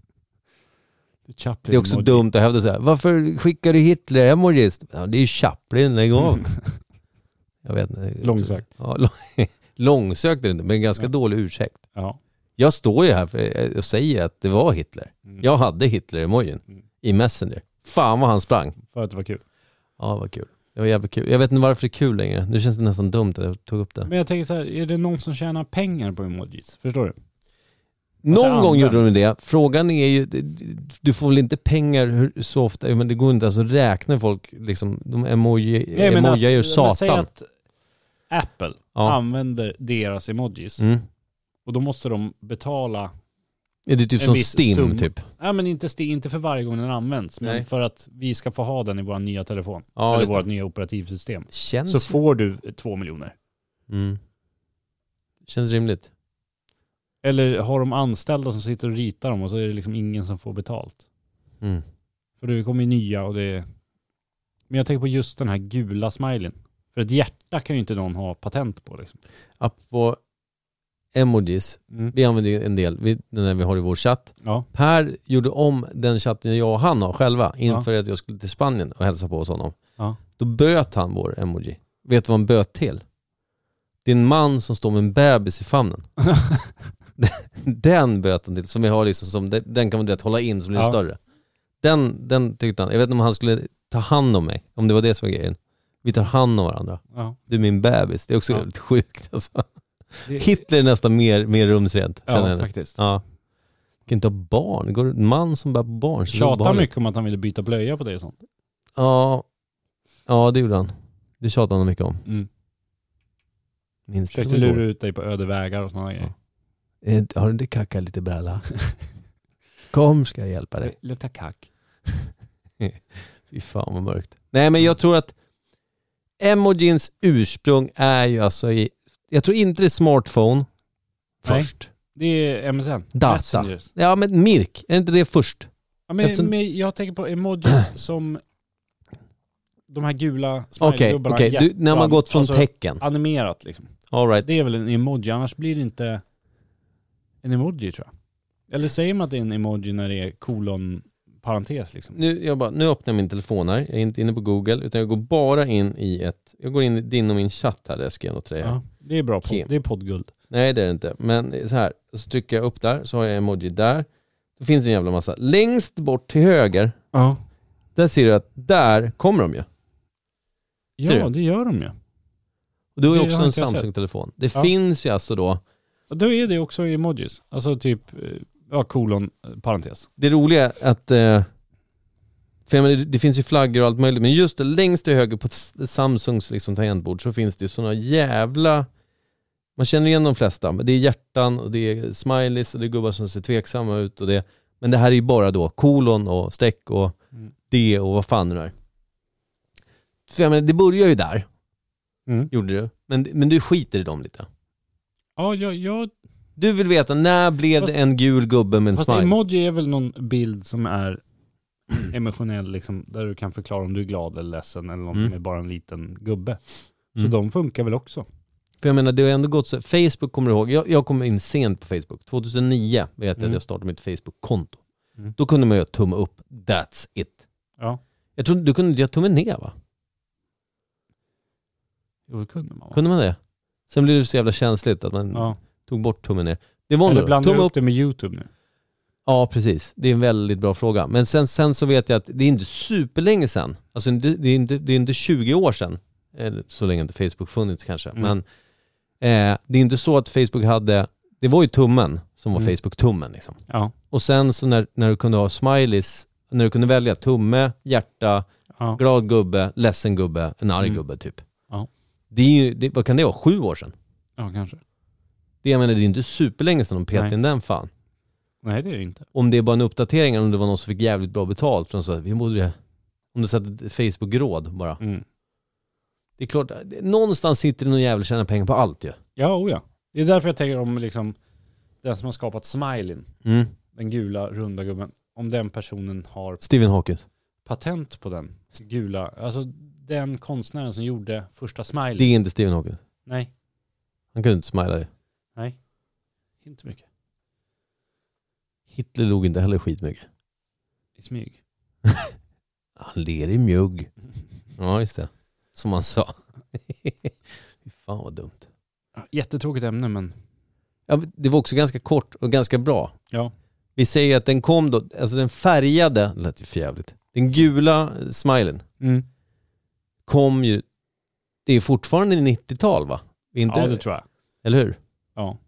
A: The
B: Det är också dumt att hävda så här. Varför skickar du Hitler emojis? Ja, det är ju Chaplin, lägg av. Jag vet inte.
A: Långsökt.
B: Ja, lång, långsökt är det inte, men ganska
A: Ja.
B: dålig ursäkt.
A: Ja.
B: Jag står ju här för- och säger att det var Hitler.
A: Mm.
B: Jag hade Hitler-emojin
A: Mm.
B: i Messenger. Fan vad han sprang.
A: För att det var kul.
B: Ja, vad kul. Det var jävligt kul. Jag vet inte varför det är kul längre. Nu känns det nästan dumt att jag tog upp det.
A: Men jag tänker så här, är det någon som tjänar pengar på emojis? Förstår du?
B: Någon
A: används.
B: gång gjorde de det. Frågan är ju, du får väl inte pengar hur, så ofta, men det går inte ens att räkna folk liksom. De emoji,
A: Nej, men att-
B: emojar ju
A: men Säg
B: satan.
A: att Apple
B: Ja.
A: använder deras emojis
B: Mm.
A: och då måste de betala,
B: Är det typ
A: En
B: som
A: viss
B: STIM
A: summa.
B: typ?
A: nej men inte, sti- inte för varje gång den används,
B: Nej.
A: men för att vi ska få ha den i vår nya telefon,
B: Ja,
A: eller
B: just det.
A: vårt nya operativsystem,
B: Känns,
A: så får du eh, två miljoner.
B: mm. Känns rimligt.
A: Eller har de anställda som sitter och ritar dem och så är det liksom ingen som får betalt.
B: Mm.
A: För det kommer ju nya och det är... Men jag tänker på just den här gula smileyn. För ett hjärta kan ju inte någon ha patent på liksom.
B: Apropå emojis,
A: Mm.
B: vi använder ju en del, vi, den där vi har i vår chatt.
A: Ja.
B: Per gjorde om den chatten jag och han har själva inför att jag skulle till Spanien och hälsa på hos honom.
A: Ja.
B: Då böt han vår emoji. Vet du vad han böt till? Det är en man som står med en bebis i famnen. den böt han till, som vi har liksom, som, den- den kan man du vet, hålla in så blir den
A: Ja.
B: större. Den, den tyckte han, jag vet inte om han skulle ta hand om mig, om det var det som var grejen. Vi tar hand om varandra.
A: ja.
B: Du är min bebis. Det är också
A: Ja.
B: jävligt sjukt alltså.
A: Det-
B: Hitler är nästan mer, mer rumsrent, känner
A: ja
B: jag. nu.
A: faktiskt.
B: Ja. Kan inte ha barn. Går en man som bär på barn. så
A: Tjatar
B: obehagligt.
A: mycket om att han ville byta blöja på dig och sånt.
B: Ja. ja, det gjorde han. Det tjatade han mycket om.
A: Mm.
B: Minns det
A: Försökte
B: som igår.
A: lura ut dig på öde vägar och sådana grejer.
B: Eh, Har du inte kackat lite brälla? Kom ska jag hjälpa dig.
A: Luktar kack. Mm.
B: Fy fan vad mörkt. Nej men jag tror att emojins ursprung är ju alltså i, jag tror inte det är smartphone
A: Nej.
B: först.
A: Det är MSN.
B: Data.
A: Messengers.
B: Ja men Mirk, är inte det först?
A: Ja, men,
B: Eftersom-
A: men jag tänker på emojis som de här gula
B: Okej,
A: smilegubbarna.
B: okej. Du, när man
A: hjärtan,
B: gått från
A: alltså
B: tecken.
A: Animerat liksom.
B: All right.
A: Det är väl en emoji, annars blir det inte en emoji tror jag. Eller säger man att det är en emoji när det är kolon parentes liksom?
B: Nu, jag bara, nu öppnar jag min telefon här. Jag är inte inne på Google utan jag går bara in i ett... Jag går in i din och min chatt här där jag skrev något till dig. här.
A: Ja, det är bra, podd,
B: Kim.
A: det är poddguld.
B: Nej det är det inte. Men så här, så trycker jag upp där så har jag emoji där. Då finns det en jävla massa. Längst bort till höger,
A: Ja.
B: där ser du att där kommer de ju. Ser
A: ja,
B: du?
A: det gör de ju.
B: Och du har ju
A: Det
B: också
A: har
B: en
A: inte jag sett.
B: Samsung-telefon. Det
A: Ja.
B: finns ju alltså då
A: Och då är det också emojis. Alltså typ, eh, ja, kolon eh, parentes.
B: det roliga är att eh, för jag menar, det- det finns ju flaggor och allt möjligt, men just det, längst till höger på s- Samsungs liksom, tangentbord så finns det ju sådana jävla... Man känner igen de flesta, men det är hjärtan och det är smileys och det är gubbar som ser tveksamma ut och det. Men det här är ju bara då kolon och streck och
A: Mm.
B: det och vad fan det nu är. För jag menar, det börjar ju där,
A: Mm.
B: gjorde du. Men, men du skiter i dem lite.
A: Ja, jag, jag,
B: Du vill veta, när blev
A: Fast-
B: det en gul gubbe med en
A: fast
B: smile?
A: emoji är väl någon bild som är emotionell liksom, där du kan förklara om du är glad eller ledsen eller någonting
B: Mm.
A: med bara en liten gubbe. Så
B: Mm.
A: de funkar väl också?
B: För jag menar, det har ändå gått så. Facebook kommer du ihåg, jag, jag kom in sent på Facebook. 2009 vet jag
A: Mm.
B: att jag startade mitt Facebook-konto.
A: Mm.
B: Då kunde man göra tumme upp, that's it.
A: Ja.
B: Jag tror, du kunde inte göra tumme ner va?
A: Jo, det kunde man va?
B: Kunde man det? Sen blev det så jävla känsligt att man
A: Ja.
B: tog bort tummen ner. Det var
A: Eller
B: nog
A: blandar
B: tumme
A: du
B: upp.
A: upp det med YouTube nu?
B: Ja, precis. Det är en väldigt bra fråga. Men sen, sen så vet jag att det är inte superlänge sen. Alltså det, det, är inte, det är inte 20 år sen. Eller så länge inte Facebook funnits kanske.
A: Mm.
B: Men eh, det är inte så att Facebook hade, det var ju tummen som var
A: Mm.
B: Facebook-tummen liksom.
A: Ja.
B: Och sen så när, när du kunde ha smileys, när du kunde välja tumme, hjärta,
A: ja.
B: glad gubbe, ledsen gubbe, en arg
A: Mm.
B: gubbe typ.
A: Ja.
B: Det är ju, det, vad kan det vara, sju år sedan?
A: Ja, kanske.
B: Det, jag menar, det är inte superlänge sedan de
A: Nej.
B: petade in den fan.
A: Nej, det är det inte.
B: Om det är bara en uppdatering eller om det var någon som fick jävligt bra betalt från så här, vi borde, om du satte ett Facebook-råd bara.
A: Mm.
B: Det är klart, det- någonstans sitter det någon jävel och tjänar pengar på allt ju.
A: Ja, oh ja. Det är därför jag tänker om liksom, den som har skapat smileyn,
B: Mm.
A: den gula runda gubben, om den personen har
B: Stephen Hawkins.
A: patent på den gula, alltså den konstnären som gjorde första
B: Det
A: smileyn.
B: är inte Stephen Hawkins.
A: Nej,
B: Han kunde inte smila ju.
A: nej. Inte mycket.
B: Hitler log inte heller skitmycket.
A: I smyg.
B: Han ler i mjugg. Ja, just det. Som han sa. Fy Fan vad dumt.
A: Ja, Jättetråkigt ämne men,
B: Ja, men det var också ganska kort och ganska bra.
A: Ja.
B: Vi säger att den kom då, alltså den färgade, det lät ju för jävligt. Den gula eh, smilen
A: Mm.
B: kom ju, det är fortfarande 90-tal va? Vi är Inte,
A: ja det tror jag.
B: Eller hur?
A: Ja.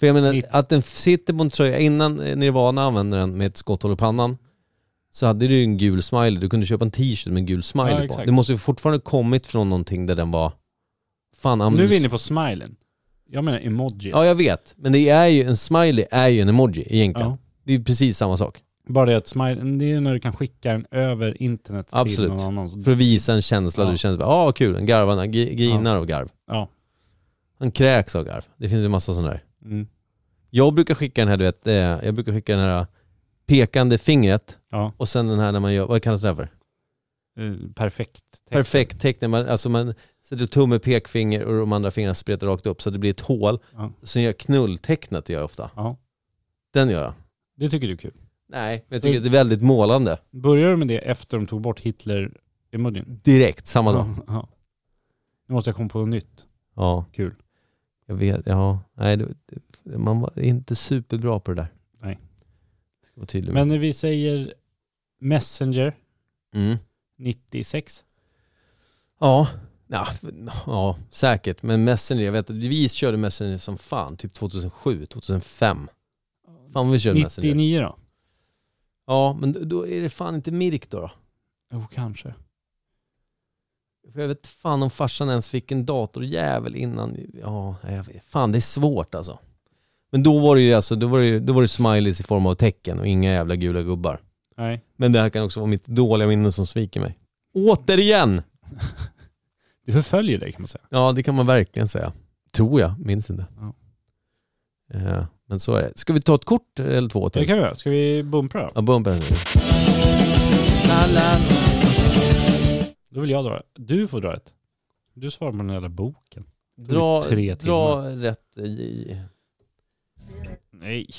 B: För jag menar
A: Nitt-
B: att den sitter på en tröja, innan eh, Nirvana använde den med ett skotthål i pannan så hade du ju en gul smiley, du kunde köpa en t-shirt med en gul
A: Ja,
B: smiley på.
A: exakt.
B: Det måste ju fortfarande kommit från någonting där den var, fan
A: Nu är vi
B: användes
A: inne på smileyn. Jag menar emoji.
B: Ja, jag vet. Men det är ju, en smiley är ju en emoji egentligen.
A: Ja.
B: Det är precis samma sak.
A: Bara det att smileyn, det är när du kan skicka den över internet
B: Absolut.
A: till någon annan.
B: För att visa en känsla.
A: Ja.
B: Du känner bara, ah vad kul, en garv, han gri- grinar av garv.
A: Ja.
B: Han kräks av garv. Det finns ju en massa sådana där.
A: Mm.
B: Jag brukar skicka den här, du vet, eh, jag brukar skicka den här eh, pekande fingret
A: Ja.
B: och sen den här när man gör, vad kallas det här för?
A: Eh, Perfekt. text.
B: Perfekt teckning. Man, alltså man sätter tumme, pekfinger och de andra fingrarna spretar rakt upp så att det blir ett hål.
A: Ja.
B: Sen gör jag knulltecknet, gör jag ofta.
A: Ja.
B: Den gör jag.
A: Det tycker du är kul.
B: Nej, men jag
A: Mm.
B: tycker att det är väldigt målande.
A: Börjar du med det efter de tog bort Hitler-emojin?
B: Direkt, samma dag.
A: Ja, ja. Nu måste jag komma på något nytt.
B: Ja.
A: Kul.
B: Jag vet, ja. Nej, det, det- man var inte superbra på det där.
A: Nej.
B: Ska vara tydlig med.
A: Men när vi säger Messenger
B: Mm.
A: 96.
B: Ja. Ja, ja, säkert. Men Messenger, jag vet att vi körde Messenger som fan, typ 2007, 2005. Fan vad vi körde Messenger.
A: 99 då?
B: Ja, men då- då är det fan inte Mirk då. då.
A: Jo, kanske.
B: För jag vet fan om farsan ens fick en datorjävel innan. Ja, jag vet. fan det är svårt alltså. Men då var det ju alltså, då var det, ju- då var det smileys i form av tecken och inga jävla gula gubbar.
A: Nej.
B: Men det här kan också vara mitt dåliga minne som sviker mig. Återigen!
A: Det förföljer dig kan man säga.
B: Ja, det kan man verkligen säga. Tror jag, minns inte.
A: Ja.
B: Eh, men så är det. Ska vi ta ett kort eller två
A: Det
B: till?
A: kan vi göra. Ska vi bumpra då?
B: Ja, bumper.
A: Då vill jag dra. Du får dra ett. Du svarar på den jävla boken. Det
B: Dra,
A: tog tre
B: dra rätt i...
A: Nej.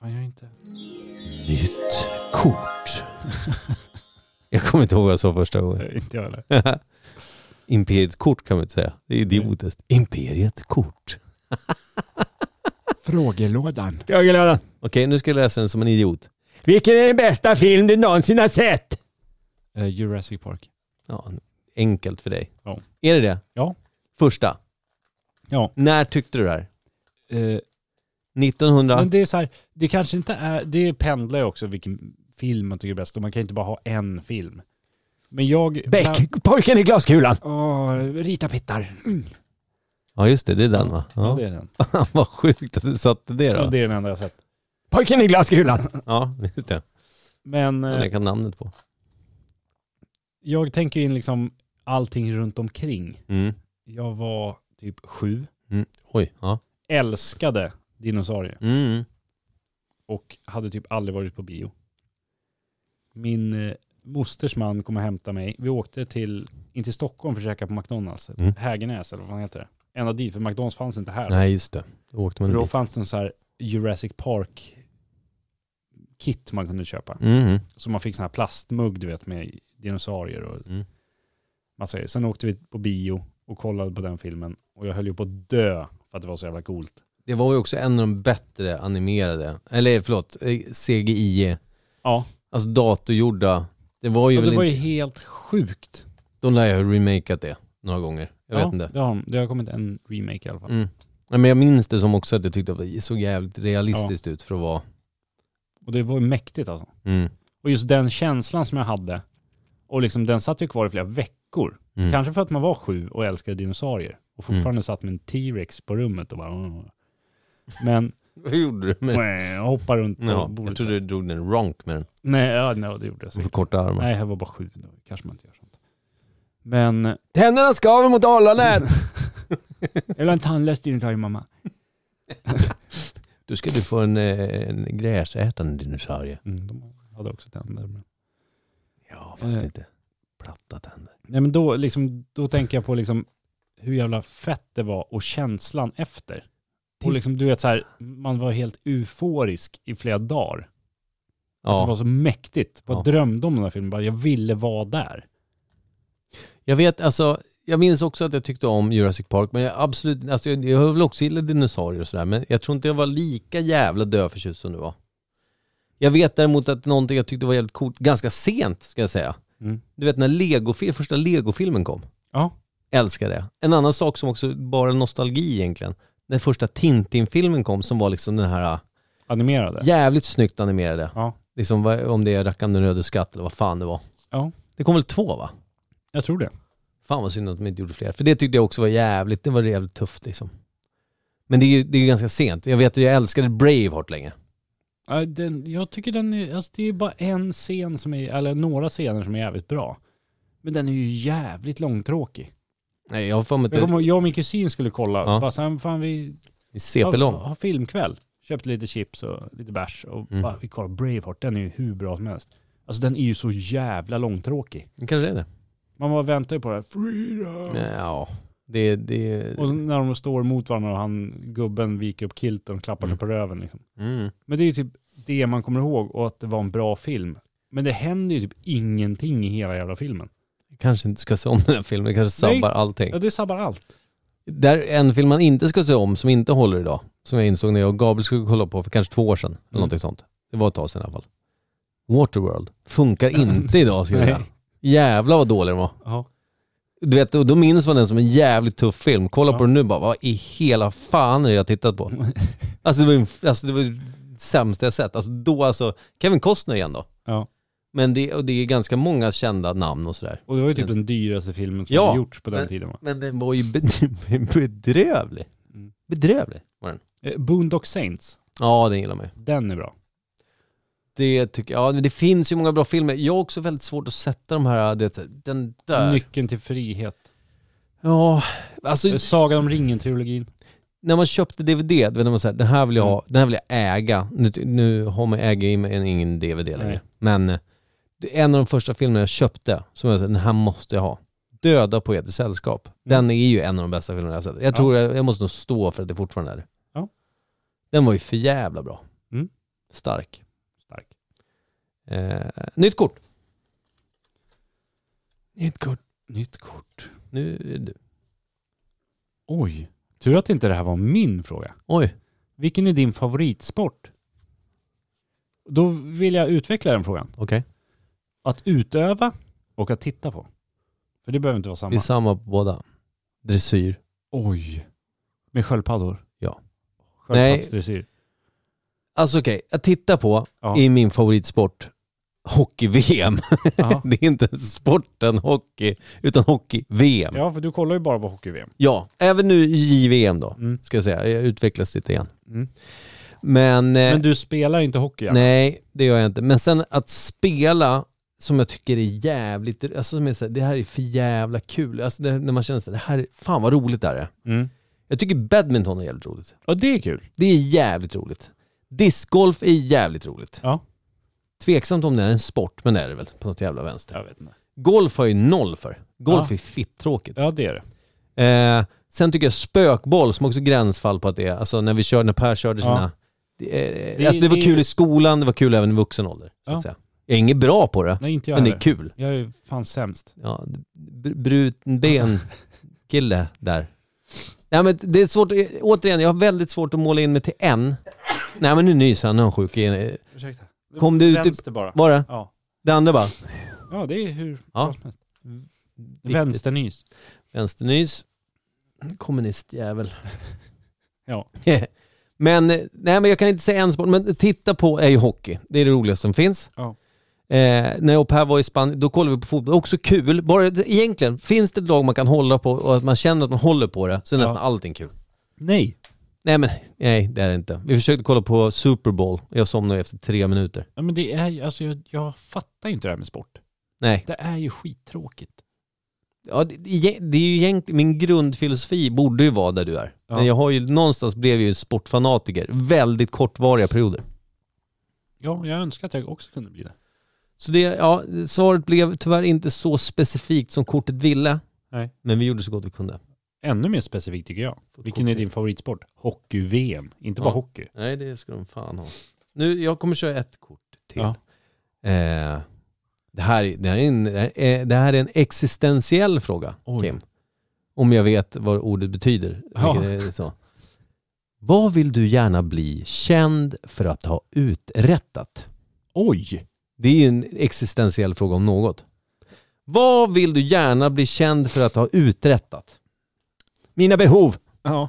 A: Fan, jag inte.
B: Nytt kort. jag kommer inte ihåg vad jag sa första gången.
A: Nej, inte jag heller.
B: Imperiet kort kan man inte säga. Det är idiotiskt. Imperiet kort.
A: Frågelådan.
H: Jag är glad.
B: Okej, nu ska jag läsa den som en idiot.
H: Vilken är den bästa film du någonsin har sett?
A: Eh, Jurassic Park.
B: Ja, enkelt för dig.
A: Ja.
B: Är det det?
A: Ja.
B: Första.
A: Ja.
B: När tyckte du det här?
A: Eh,
B: 1900?
A: Men det är så här, det kanske inte är, det pendlar ju också vilken film man tycker är bäst och man kan inte bara ha en film. Men jag...
H: Beck, pojken i glaskulan.
A: Åh, rita pittar.
B: Ja just det, det är den va?
A: Ja.
B: Ja.
A: det är den.
B: Vad sjukt att du satte det
A: Ja,
B: då.
A: det är den enda jag sett.
H: Pojken i glaskulan.
B: Ja, just det.
A: Men
B: Den
A: eh,
B: jag kan namnet på.
A: jag tänker in liksom allting runt omkring.
B: Mm.
A: Jag var typ sju,
B: Oj, ja.
A: älskade dinosaurier
B: Mm.
A: och hade typ aldrig varit på bio. Min eh, mosters man kom och hämtade mig. Vi åkte till, in till Stockholm för att käka på McDonalds,
B: Mm.
A: Hägernäs eller vad fan heter det? Ända dit, för McDonalds fanns inte här.
B: Nej just det. Då åkte man
A: För då
B: dit.
A: fanns det en så här Jurassic Park kit man kunde köpa.
B: Mm.
A: Så man fick sån här plastmugg du vet med dinosaurier och
B: Mm.
A: massa grejer. Sen åkte vi på bio och kollade på den filmen och jag höll ju på att dö för att det var så jävla coolt.
B: Det var ju också en av de bättre animerade, eller förlåt, eh, CGI,
A: Ja,
B: alltså datorgjorda. Det var ju
A: och
B: väl
A: det var ju
B: inte,
A: helt sjukt.
B: de lär ju ha remakat det några gånger. Jag
A: ja,
B: vet inte.
A: Det har, de. det har kommit en remake i alla fall.
B: Mm. Nej, men jag minns det som också att jag tyckte att det såg jävligt realistiskt ut för att vara...
A: Och det var ju mäktigt alltså.
B: Mm.
A: Och just den känslan som jag hade, och liksom den satt ju kvar i flera veckor.
B: Mm.
A: Kanske för att man var sju och älskade dinosaurier. Och fortfarande satt med en T-Rex på rummet och bara... "Åh." Men
B: Hur gjorde du med
A: jag hoppade runt på
B: Ja, jag
A: bordet.
B: trodde du drog en ronk med den.
A: Nej, ja, nej, det gjorde jag
B: För
A: säkert.
B: korta armar.
A: Nej, jag var bara sju. Då kanske man inte gör sånt. Men...
B: Tänderna skaver mot allanät!
A: Jag vill ha en tandlös dinosaurie, mamma.
B: Då ska du få en, eh, en gräsätande dinosaurie.
A: Mm, de hade också tänder. Men...
B: Ja, fast
A: Eh.
B: inte platta tänder.
A: Nej, men då, liksom, då tänker jag på liksom hur jävla fett det var och känslan efter. Och liksom, du vet så här, man var helt euforisk i flera dagar. Att det var
B: Ja.
A: så mäktigt. Bara
B: Ja.
A: drömde om den här filmen. Bara, jag ville vara där.
B: Jag vet, alltså, jag minns också att jag tyckte om Jurassic Park, men jag absolut, alltså, jag, jag har väl också gillat dinosaurier och sådär, men jag tror inte jag var lika jävla döförtjust som du var. Jag vet däremot att någonting jag tyckte var jävligt coolt, ganska sent ska jag säga.
A: Mm.
B: Du vet när Lego, första Lego-filmen kom.
A: Ja.
B: Älskar det. En annan sak som också bara nostalgi egentligen. Den första Tintin-filmen kom som var liksom den här
A: Animerade.
B: jävligt snyggt animerade.
A: Ja.
B: Liksom vad- om det är Rackarn den röde skatt eller vad fan det var.
A: Ja.
B: Det kom väl två va?
A: Jag tror det.
B: Fan vad synd att de inte gjorde fler. För det tyckte jag också var jävligt, det var jävligt tufft liksom. Men det är ju det är ju ganska sent. Jag vet att jag älskade Braveheart länge.
A: Ja, Den, jag tycker den är, alltså det är bara en scen som är, eller några scener som är jävligt bra. Men den är ju jävligt långtråkig.
B: Nej, jag har för mig
A: Jag,
B: att
A: kommer, ihåg, jag och min kusin skulle kolla,
B: Ja.
A: bara så här, fan vi
B: det är
A: har,
B: CP-lång.
A: har filmkväll. Köpte lite chips och lite bärs och
B: Mm.
A: bara, vi kollar Braveheart, den är ju hur bra som helst. Alltså den är ju så jävla långtråkig.
B: Det kanske är det.
A: Man bara väntar ju på det här, freedom!
B: Ja, det, det...
A: Och så när de står mot varandra och han, gubben viker upp kilten och klappar sig på röven liksom.
B: Mm.
A: Men det är ju typ det man kommer ihåg och att det var en bra film. Men det händer ju typ ingenting i hela jävla filmen.
B: Kanske inte ska se om den här filmen, det kanske sabbar
A: Nej.
B: allting.
A: Ja, det sabbar allt.
B: Där en film man inte ska se om som inte håller idag, som jag insåg när jag och Gabriel skulle kolla på för kanske två år sedan,
A: Mm.
B: eller någonting sånt. Det var ett tag sedan i alla fall. Waterworld. Funkar inte idag skulle jag säga. Jävlar vad dålig den var.
A: Ja.
B: Du vet, och då minns man den som en jävligt tuff film. Kolla på den nu bara, vad i hela fan är det jag tittat på? Alltså det var ju alltså, det var ju det sämsta jag sett. Alltså då alltså, Kevin Costner igen då.
A: Ja.
B: Men det, och det är ganska många kända namn och sådär.
A: Och det var ju typ den dyraste filmen som
B: Ja.
A: hade gjorts på den
B: Men-
A: tiden. Va?
B: Men den var ju be- bedrövlig.
A: Mm.
B: Bedrövlig var den.
A: Eh, Boondock Saints,
B: Ja, den gillar man ju.
A: den är bra.
B: det tycker jag, ja, men det finns ju många bra filmer. Jag har också väldigt svårt att sätta de här, det, den där.
A: Nyckeln till frihet.
B: ja, alltså
A: Sagan om ringen-trilogin.
B: när man köpte DVD, då var det när man säger den här vill jag
A: Mm.
B: ha, den här vill jag äga. Nu, nu har man äger i mig en- ingen DVD längre.
A: Nej.
B: Men eh, det är en av de första filmerna jag köpte som jag sa, den här måste jag ha. Döda poeters sällskap.
A: Mm.
B: Den är ju en av de bästa filmerna jag har sett. Jag tror jag, jag måste nog stå för att det fortfarande är.
A: Ja.
B: Den var ju för jävla bra.
A: Mm.
B: Stark.
A: Stark.
B: Eh, nytt kort.
A: Nytt kort. Nytt kort.
B: Nu är det du.
A: Oj. Tur att inte det här var min fråga.
B: Oj.
A: Vilken är din favoritsport? Då vill jag utveckla den frågan.
B: Okej.
A: Att utöva och att titta på. För det behöver inte vara samma.
B: Det är samma på båda. Dressyr.
A: Oj. Med sköldpaddor?
B: Ja.
A: Sköldpaddsdressyr?
B: Alltså okej, att titta på
A: Ja.
B: är min favoritsport hockey-VM.
A: Jaha.
B: det är inte sporten hockey, utan hockey-VM. Ja.
A: Ja, för du kollar ju bara på hockey-VM.
B: även nu i JVM då,
A: Mm.
B: ska jag säga. Jag utvecklas lite igen.
A: Mm.
B: Men, eh,
A: Men du spelar inte hockey? Janne.
B: nej, det gör jag inte. Men sen att spela som jag tycker är jävligt, alltså som är så här, det här är för jävla kul. Alltså det, när man känner så här, det här, är- fan vad roligt det här är.
A: Mm.
B: Jag tycker badminton är jävligt roligt.
A: Ja, det är kul.
B: Det är jävligt roligt. Discgolf är jävligt roligt.
A: Ja.
B: Tveksamt om det är en sport, men det är det väl på något jävla vänster.
A: Jag vet inte.
B: Golf har jag ju noll för. Golf
A: Ja.
B: är fitt tråkigt.
A: Ja, det är det.
B: Eh, sen tycker jag spökboll, som också är gränsfall på att det är, alltså när vi kör, när Per körde
A: Ja.
B: sina... Det, eh,
A: Det-
B: alltså det var
A: det-
B: kul i skolan, det var kul även i vuxen ålder. Så
A: Ja.
B: att säga. Jag är inget bra på det,
A: Nej, inte jag
B: men det
A: heller.
B: är kul.
A: Jag är fan sämst.
B: Ja, br- bruten ben kille där. Nej men det är svårt, återigen, jag har väldigt svårt att måla in mig till en. Nej men nu nyser han, nu är han sjuk igen.
A: Ursäkta. Det
B: Kom
A: var
B: du typ- ut i-
A: Vänster bara.
B: Var det?
A: Ja.
B: Det andra bara?
A: ja, det är hur
B: Ja.
A: bra som helst. Vänsternys.
B: Vänsternys. Mm, Kommunistjävel.
A: Ja.
B: men, eh, nej men jag kan inte säga en sport, men titta på är ju hockey. Det är det roligaste som finns.
A: Ja.
B: Eh, när jag och Per var i Spanien, då kollade vi på fotboll. Också kul. Bara, egentligen, finns det ett lag man kan hålla på och att man känner att man håller på det, så är
A: Ja.
B: nästan allting kul.
A: Nej.
B: Nej men, nej det är det inte. Vi försökte kolla på Super Bowl, jag somnade efter tre minuter.
A: Ja, men det är ju- alltså jag, jag fattar ju inte det här med sport.
B: Nej.
A: Det är ju skittråkigt.
B: Ja, det, det- det är ju egentligen, min grundfilosofi borde ju vara där du är.
A: Ja.
B: Men jag har ju, någonstans blev jag ju sportfanatiker. Väldigt kortvariga perioder.
A: Ja, jag önskar att jag också kunde bli det.
B: Så det, ja, svaret blev tyvärr inte så specifikt som kortet ville.
A: Nej.
B: Men vi gjorde så gott vi kunde.
A: Ännu mer specifikt tycker jag. Vilken är din favoritsport? Hockey-VM. Inte
B: Ja.
A: bara hockey.
B: Nej, det ska de fan ha. Nu, jag kommer köra ett kort till.
A: Ja.
B: Eh, det, här, är- det, här är en, eh, det här är en existentiell fråga,
A: Oj.
B: Kim. Om jag vet vad ordet betyder.
A: Ja.
B: vilket är Så. Vad vill du gärna bli känd för att ha uträttat?
A: Oj!
B: Det är ju en existentiell fråga om något. Vad vill du gärna bli känd för att ha uträttat? Mina behov.
A: Ja.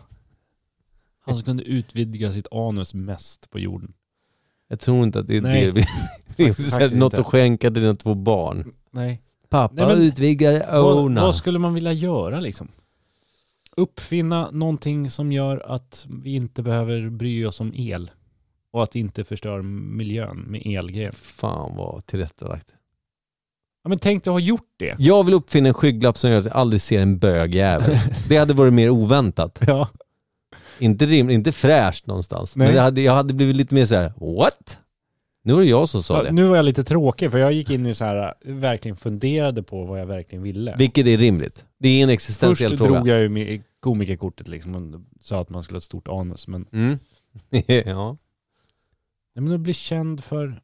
A: Han som kunde utvidga sitt anus mest på jorden.
B: Jag tror inte att det är
A: Nej.
B: det vi... Det är också så här,
A: faktiskt
B: något
A: inte.
B: att skänka till dina två barn.
A: Nej. Oh,
B: Pappa
A: Nej, men-
B: utvidgade
A: Vad,
B: Ona.
A: vad skulle man vilja göra liksom? Uppfinna någonting som gör att vi inte behöver bry oss om el. Och att det inte förstör miljön med elgrejer.
B: Fan vad tillrättalagt.
A: Ja, men tänk dig ha gjort det.
B: Jag vill uppfinna en skygglapp som gör att jag aldrig ser en bögjävel. Det hade varit mer oväntat.
A: Ja.
B: Inte rimligt, inte fräscht någonstans.
A: Nej.
B: Men jag hade, jag hade blivit lite mer så här: what? Nu var det jag som sa det.
A: nu var jag lite tråkig för jag gick in i så här, verkligen funderade på vad jag verkligen ville.
B: Vilket är rimligt. Det är en
A: Först
B: existentiell fråga.
A: drog jag ju med komikerkortet liksom och sa att man skulle ha ett stort anus. Men,
B: Mm. ja.
A: nej, men att bli känd för...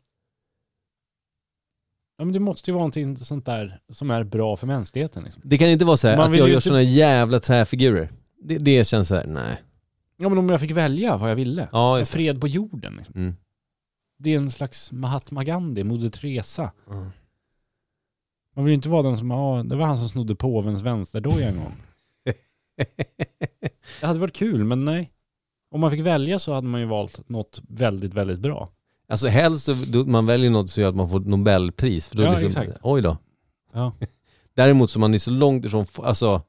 A: Ja, men det måste ju vara någonting sånt där som är bra för mänskligheten. Liksom.
B: Det kan inte vara så här
A: Man
B: att
A: vill
B: jag
A: ju
B: gör
A: inte-
B: sådana jävla träfigurer. Det, det känns så här, nej.
A: Ja men om jag fick välja vad jag ville.
B: Ja, just
A: Fred på jorden. Liksom.
B: Mm.
A: Det är en slags Mahatma Gandhi, Moder Teresa.
B: Ja.
A: Man vill ju inte vara den som, ja, det var han som snodde påvens vänsterdoja en gång. Det hade varit kul, men nej. Om man fick välja så hade man ju valt något väldigt, väldigt bra.
B: Alltså helst så, då, man väljer något som gör att man får ett nobelpris. För då
A: Ja,
B: liksom,
A: exakt.
B: Oj då.
A: Ja.
B: Däremot så man är så långt ifrån, alltså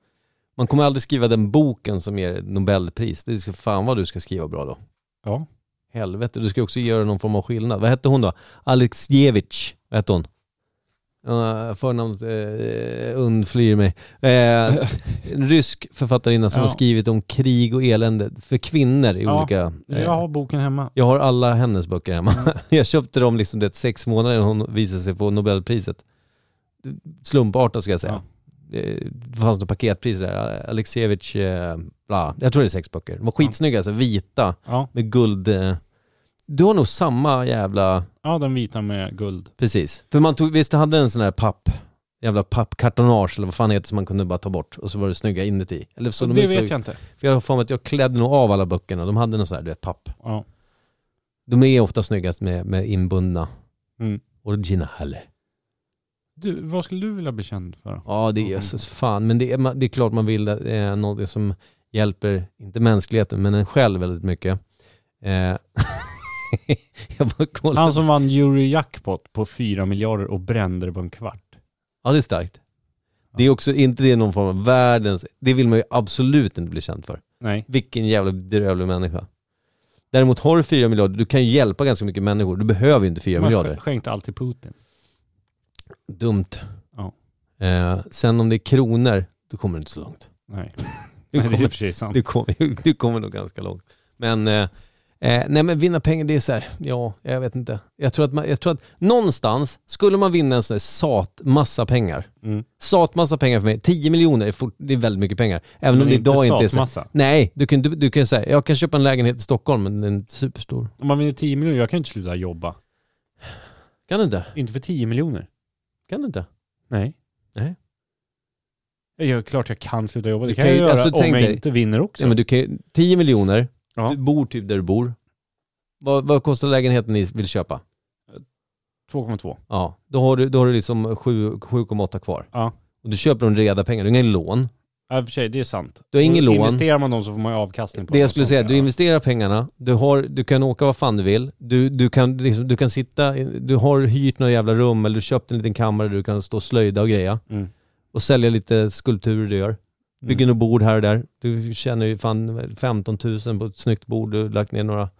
B: man kommer aldrig skriva den boken som ger nobelpris. Det ska fan vad du ska skriva bra då.
A: Ja.
B: Helvete, du ska ju också göra någon form av skillnad. Vad hette hon då? Alexievich, vad hette hon? Uh, förnamnet uh, undflyr mig. Eh, en rysk författarinna som
A: Ja.
B: har skrivit om krig och elände för kvinnor i
A: Ja,
B: olika... eh,
A: Jag har boken hemma.
B: jag har alla hennes böcker hemma.
A: Mm.
B: Jag köpte dem liksom det sex månader innan hon visade sig på Nobelpriset. Slumpartat ska jag säga. Det fanns något paketpris där. Alexievich, eh, bla. Jag tror det är sex böcker. De var skitsnygga alltså, vita
A: Ja,
B: med guld. eh. Du har nog samma jävla,
A: ja den vita med guld.
B: precis. För man tog, visst hade den en sån här papp, jävla pappkartonage eller vad fan det heter som man kunde bara ta bort och så var det snygga inuti. Eller så
A: Så
B: de
A: det
B: utsåg-
A: vet jag inte.
B: För jag har för mig att jag klädde nog av alla böckerna. De hade någon sån här, du vet, papp.
A: Ja.
B: De är ofta snyggast med, med inbundna.
A: Mm.
B: Original.
A: Du, vad skulle du vilja bli känd för? då?
B: Ja, det är
A: Mm.
B: jösses fan. Men det är, ma- det är klart man vill eh, något som hjälper, inte mänskligheten, men en själv väldigt mycket. Eh, jag bara kollar.
A: Han som vann Eurojackpot på 4 miljarder och brände det på en kvart.
B: Ja, det är starkt. Det är också inte det någon form av världens, det vill man ju absolut inte bli känd för.
A: Nej.
B: Vilken jävla bedrövlig människa. Däremot har du fyra miljarder, du kan ju hjälpa ganska mycket människor. Du behöver ju inte fyra
A: Man
B: miljarder.
A: sk- skänkte allt till Putin.
B: Dumt.
A: Ja.
B: Eh, sen om det är kronor, då kommer du inte så långt.
A: Nej.
B: Du
A: Nej, det är i
B: kommer,
A: och för sig sant.
B: du kommer, du kommer nog ganska långt. Men, eh, eh, nej men vinna pengar, det är så här, ja, jag vet inte. Jag tror att, man, jag tror att någonstans skulle man vinna en sån här sat massa pengar.
A: Mm.
B: Sat massa pengar för mig, 10 miljoner, är fort, det är väldigt mycket pengar. Även
A: Men
B: om det idag inte är så.
A: satmassa.
B: Nej, du kan, du, du kan säga, jag kan köpa en lägenhet i Stockholm, men den är inte superstor.
A: Om man vinner 10 miljoner, jag kan inte sluta jobba.
B: Kan du inte?
A: Inte för 10 miljoner.
B: Kan du inte?
A: Nej.
B: Nej.
A: Jag är klart jag kan sluta jobba. Det
B: Du
A: kan,
B: kan ju-
A: jag göra
B: alltså,
A: om
B: tänk
A: jag
B: dig-
A: inte vinner också.
B: Nej, men du kan, ju- 10 miljoner,
A: Ja.
B: du bor typ där du bor. Vad, vad kostar lägenheten ni vill köpa?
A: 2,2.
B: Ja, då har du, då har du liksom sju- 7,8 kvar.
A: Ja.
B: Och du köper de reda pengar, du har ingen lån.
A: Ja, i och för sig, det är sant.
B: Du har ingen
A: Och
B: lån.
A: Investerar man dem så får man ju avkastning på
B: Det
A: dem
B: jag
A: och
B: skulle
A: sånt
B: säga,
A: där.
B: du investerar pengarna, du, har, du kan åka vad fan du vill, du, du, kan, liksom, du kan sitta, i- du har hyrt några jävla rum eller du köpt en liten kammare där du kan stå och slöjda och greja.
A: Mm.
B: Och sälja lite skulpturer du gör. Bygger något bord här och där. Du tjänar ju fan 15 000 på ett snyggt bord du har lagt ner några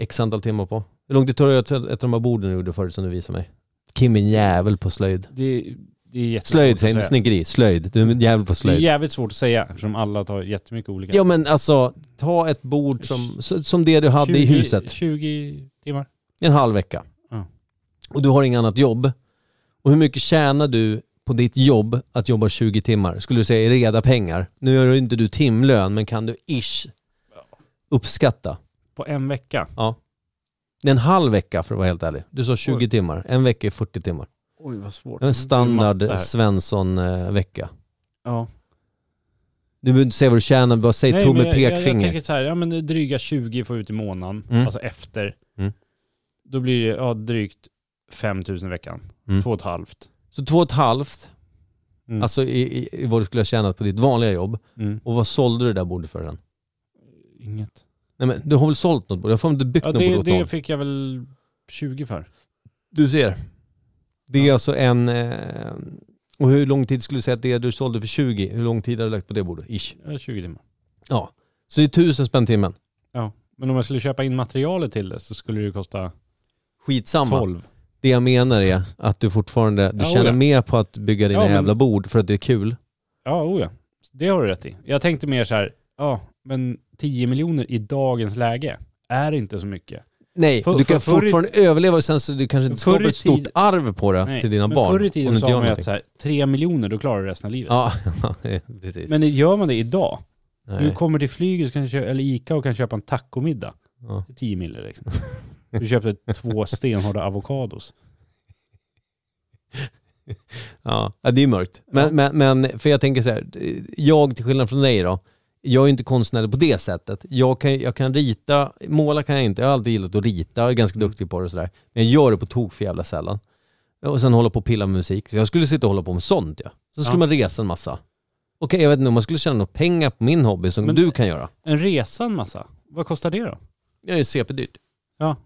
B: x antal timmar på. Hur långt det tar att göra ett ett av de här borden du gjorde förut som du visade mig? Kim är en jävel på slöjd.
A: Det, det är jättesvårt
B: Slöjd
A: att
B: säger jag,
A: säga.
B: inte snickeri. Slöjd. Du är en jävel på
A: Det är
B: slöjd.
A: jävligt svårt att säga eftersom alla tar jättemycket olika.
B: Ja men alltså, ta ett bord som, så- som det du hade i
A: 20
B: huset
A: 20 timmar.
B: en halv vecka.
A: Ja.
B: Och du har inget annat jobb. Och hur mycket tjänar du på ditt jobb att jobba 20 timmar? Skulle du säga i reda pengar? Nu gör ju inte du timlön, men kan du ish uppskatta?
A: På en vecka.
B: Det är en halv vecka för att vara helt ärlig. Du sa 20
A: Oj.
B: timmar, en vecka är 40 timmar.
A: Oj vad svårt. Det
B: En
A: är matte
B: standard
A: här.
B: Svensson-vecka.
A: Ja.
B: Du behöver inte säga vad du tjänar, bara säg
A: Nej,
B: tog
A: men
B: med
A: jag, jag, jag
B: pekfinger.
A: tänker så här, ja men det är dryga 20 får jag ut i månaden,
B: Mm.
A: alltså efter.
B: Mm.
A: Då blir det ja, drygt 5 000 i veckan.
B: Mm.
A: Två och ett halvt.
B: Så två och ett halvt,
A: Mm.
B: alltså i, i, i vad du skulle ha tjänat på ditt vanliga jobb.
A: Mm.
B: Och vad sålde du det där bordet för sen?
A: Inget.
B: Nej men du har väl sålt något bord? Jag får inte byggt
A: Ja,
B: något bord
A: det,
B: åt någon.
A: det fick jag väl 20 för.
B: Du ser. Det är alltså en... Eh, och hur lång tid skulle du säga att det du sålde för 20, hur lång tid har du lagt på det bordet? Ish.
A: Ja, 20 timmar.
B: Ja. Så det är tusen spänn timmen.
A: Ja. Men om jag skulle köpa in materialet till det så skulle det ju kosta
B: Skitsamma.
A: 12.
B: Det jag menar är att du fortfarande, du
A: Ja,
B: tjänar
A: oja.
B: mer på att bygga dina
A: Ja, men-
B: jävla bord för att det är kul.
A: Ja, oh ja. Det har du rätt i. Jag tänkte mer så här, ja, men 10 miljoner i dagens läge är inte så mycket.
B: Nej,
A: För-
B: du
A: för-
B: kan
A: förr i-
B: fortfarande överleva och sen så du kanske inte
A: Förr i
B: skapar ett stort
A: tid-
B: arv på det till dina
A: men
B: barn.
A: Förr i
B: om du
A: tiden
B: inte
A: sa
B: gör
A: man ju
B: någonting.
A: att så här, 3 miljoner, då klarar du resten av livet.
B: Ja, precis.
A: Men gör man det idag,
B: Nej.
A: du kommer till flyget så kan du köpa, eller Ica och kan köpa en tacomiddag.
B: Ja.
A: 10 mille liksom. Du köpte två stenhårda avokados.
B: Ja, ja, det är mörkt. Men, men, men för jag tänker så här, jag till skillnad från dig då, jag är inte konstnärlig på det sättet. Jag kan, jag kan rita, måla kan jag inte, jag har alltid gillat att rita, jag är ganska duktig på det och sådär. Men jag gör det på tok för jävla sällan. Och sen hålla på och pilla med musik. Så jag skulle sitta och hålla på med sånt ja. Så skulle
A: Ja.
B: man resa en massa. Okej, jag vet inte om man skulle tjäna några pengar på min hobby som
A: Men-
B: du kan göra.
A: En resa en massa. Vad kostar det då?
B: Det är CP-dyrt.
A: Ja.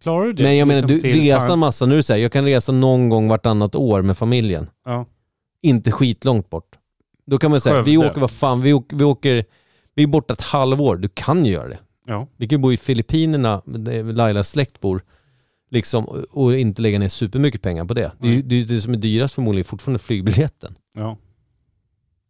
A: Klarar du det?
B: Men jag menar,
A: liksom
B: du,
A: till-
B: resa en massa, nu är det så här, jag kan resa någon gång vartannat år med familjen.
A: Ja.
B: inte skitlångt bort. Då kan man säga, vi
A: Skövde.
B: åker vad fan, vi åker, vi åker, vi är borta ett halvår, du kan göra det.
A: Ja.
B: Vi kan ju bo i Filippinerna, där Lailas släkt bor, liksom, och inte lägga ner supermycket pengar på det. Det, är ju- det är ju det som är dyrast förmodligen fortfarande flygbiljetten.
A: Ja.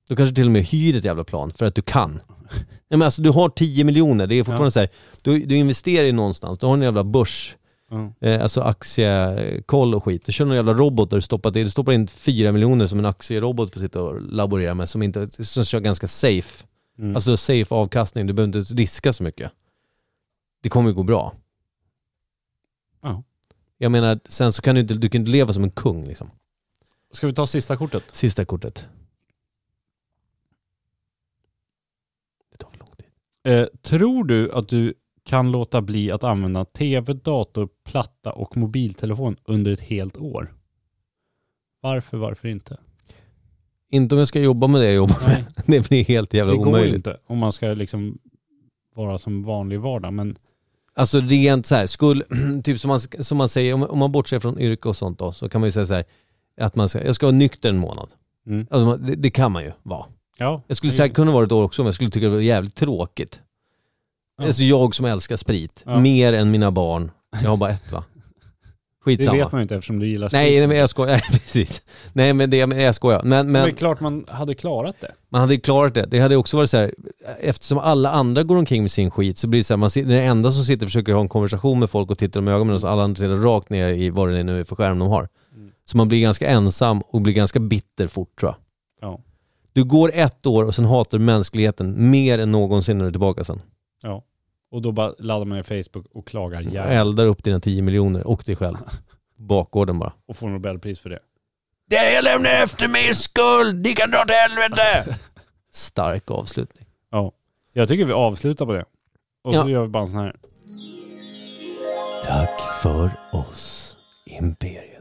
B: Du kanske till och med hyr ett jävla plan för att du kan. Nej, men alltså, du har 10 miljoner, det är fortfarande
A: Ja.
B: så här, du, du investerar i någonstans, du har en jävla börs,
A: Ja. Mm.
B: eh, alltså aktiekoll och skit. Du kör någon jävla robot där du stoppar, du stoppar in 4 miljoner som en aktierobot får sitta och laborera med, som, inte, som kör ganska safe.
A: Mm.
B: Alltså safe avkastning, du behöver inte riska så mycket. Det kommer ju gå bra.
A: Ja.
B: Jag menar, sen så kan du inte, du kan inte leva som en kung liksom.
A: Ska vi ta sista kortet?
B: Sista kortet. Det tar för lång tid.
A: Eh, tror du att du kan låta bli att använda tv, dator, platta och mobiltelefon under ett helt år? Varför, varför inte?
B: Inte om jag ska jobba med det jag jobbar med.
A: Nej,
B: Det blir helt jävla
A: det går
B: omöjligt.
A: inte om man ska liksom vara som vanlig vardag. Men
B: Alltså rent så här, skulle, typ som man, som man säger, om, om man bortser från yrke och sånt då, så kan man ju säga så här, att man ska, jag ska vara nykter en månad.
A: Mm.
B: Alltså, man- det, det kan man ju vara.
A: ja,
B: Jag skulle säkert kunna vara ett år också men jag skulle tycka det var jävligt tråkigt.
A: Ja.
B: Alltså jag som älskar sprit,
A: Ja.
B: mer än mina barn. Jag har bara ett va?
A: det
B: Skitsamma.
A: vet man ju inte eftersom du gillar
B: Nej, nej men jag skojar, nej, precis. Nej men det, men jag skojar. Men,
A: men...
B: men
A: det är klart man hade klarat det.
B: man hade ju klarat det. Det hade också varit så här, eftersom alla andra går omkring med sin skit så blir det så här, man sitter, den enda som sitter och försöker ha en konversation med folk och tittar dem i ögonen och så alla andra tittar rakt ner i vad det är nu är för skärm de har.
A: Mm.
B: Så man blir ganska ensam och blir ganska bitter fort tror jag.
A: Ja.
B: Du går ett år och sen hatar du mänskligheten mer än någonsin när du är tillbaka sen.
A: ja. Och då bara laddar man ner Facebook och klagar jävligt
B: Eldar upp dina 10 miljoner och dig själv. Bakgården bara.
A: och får Nobelpris för det.
B: Det jag lämnar efter mig är skuld, ni kan dra till helvete! Stark avslutning.
A: Ja. Jag tycker vi avslutar på det. Och
B: Ja.
A: så gör vi bara en sån här.
B: Tack för oss, Imperiet.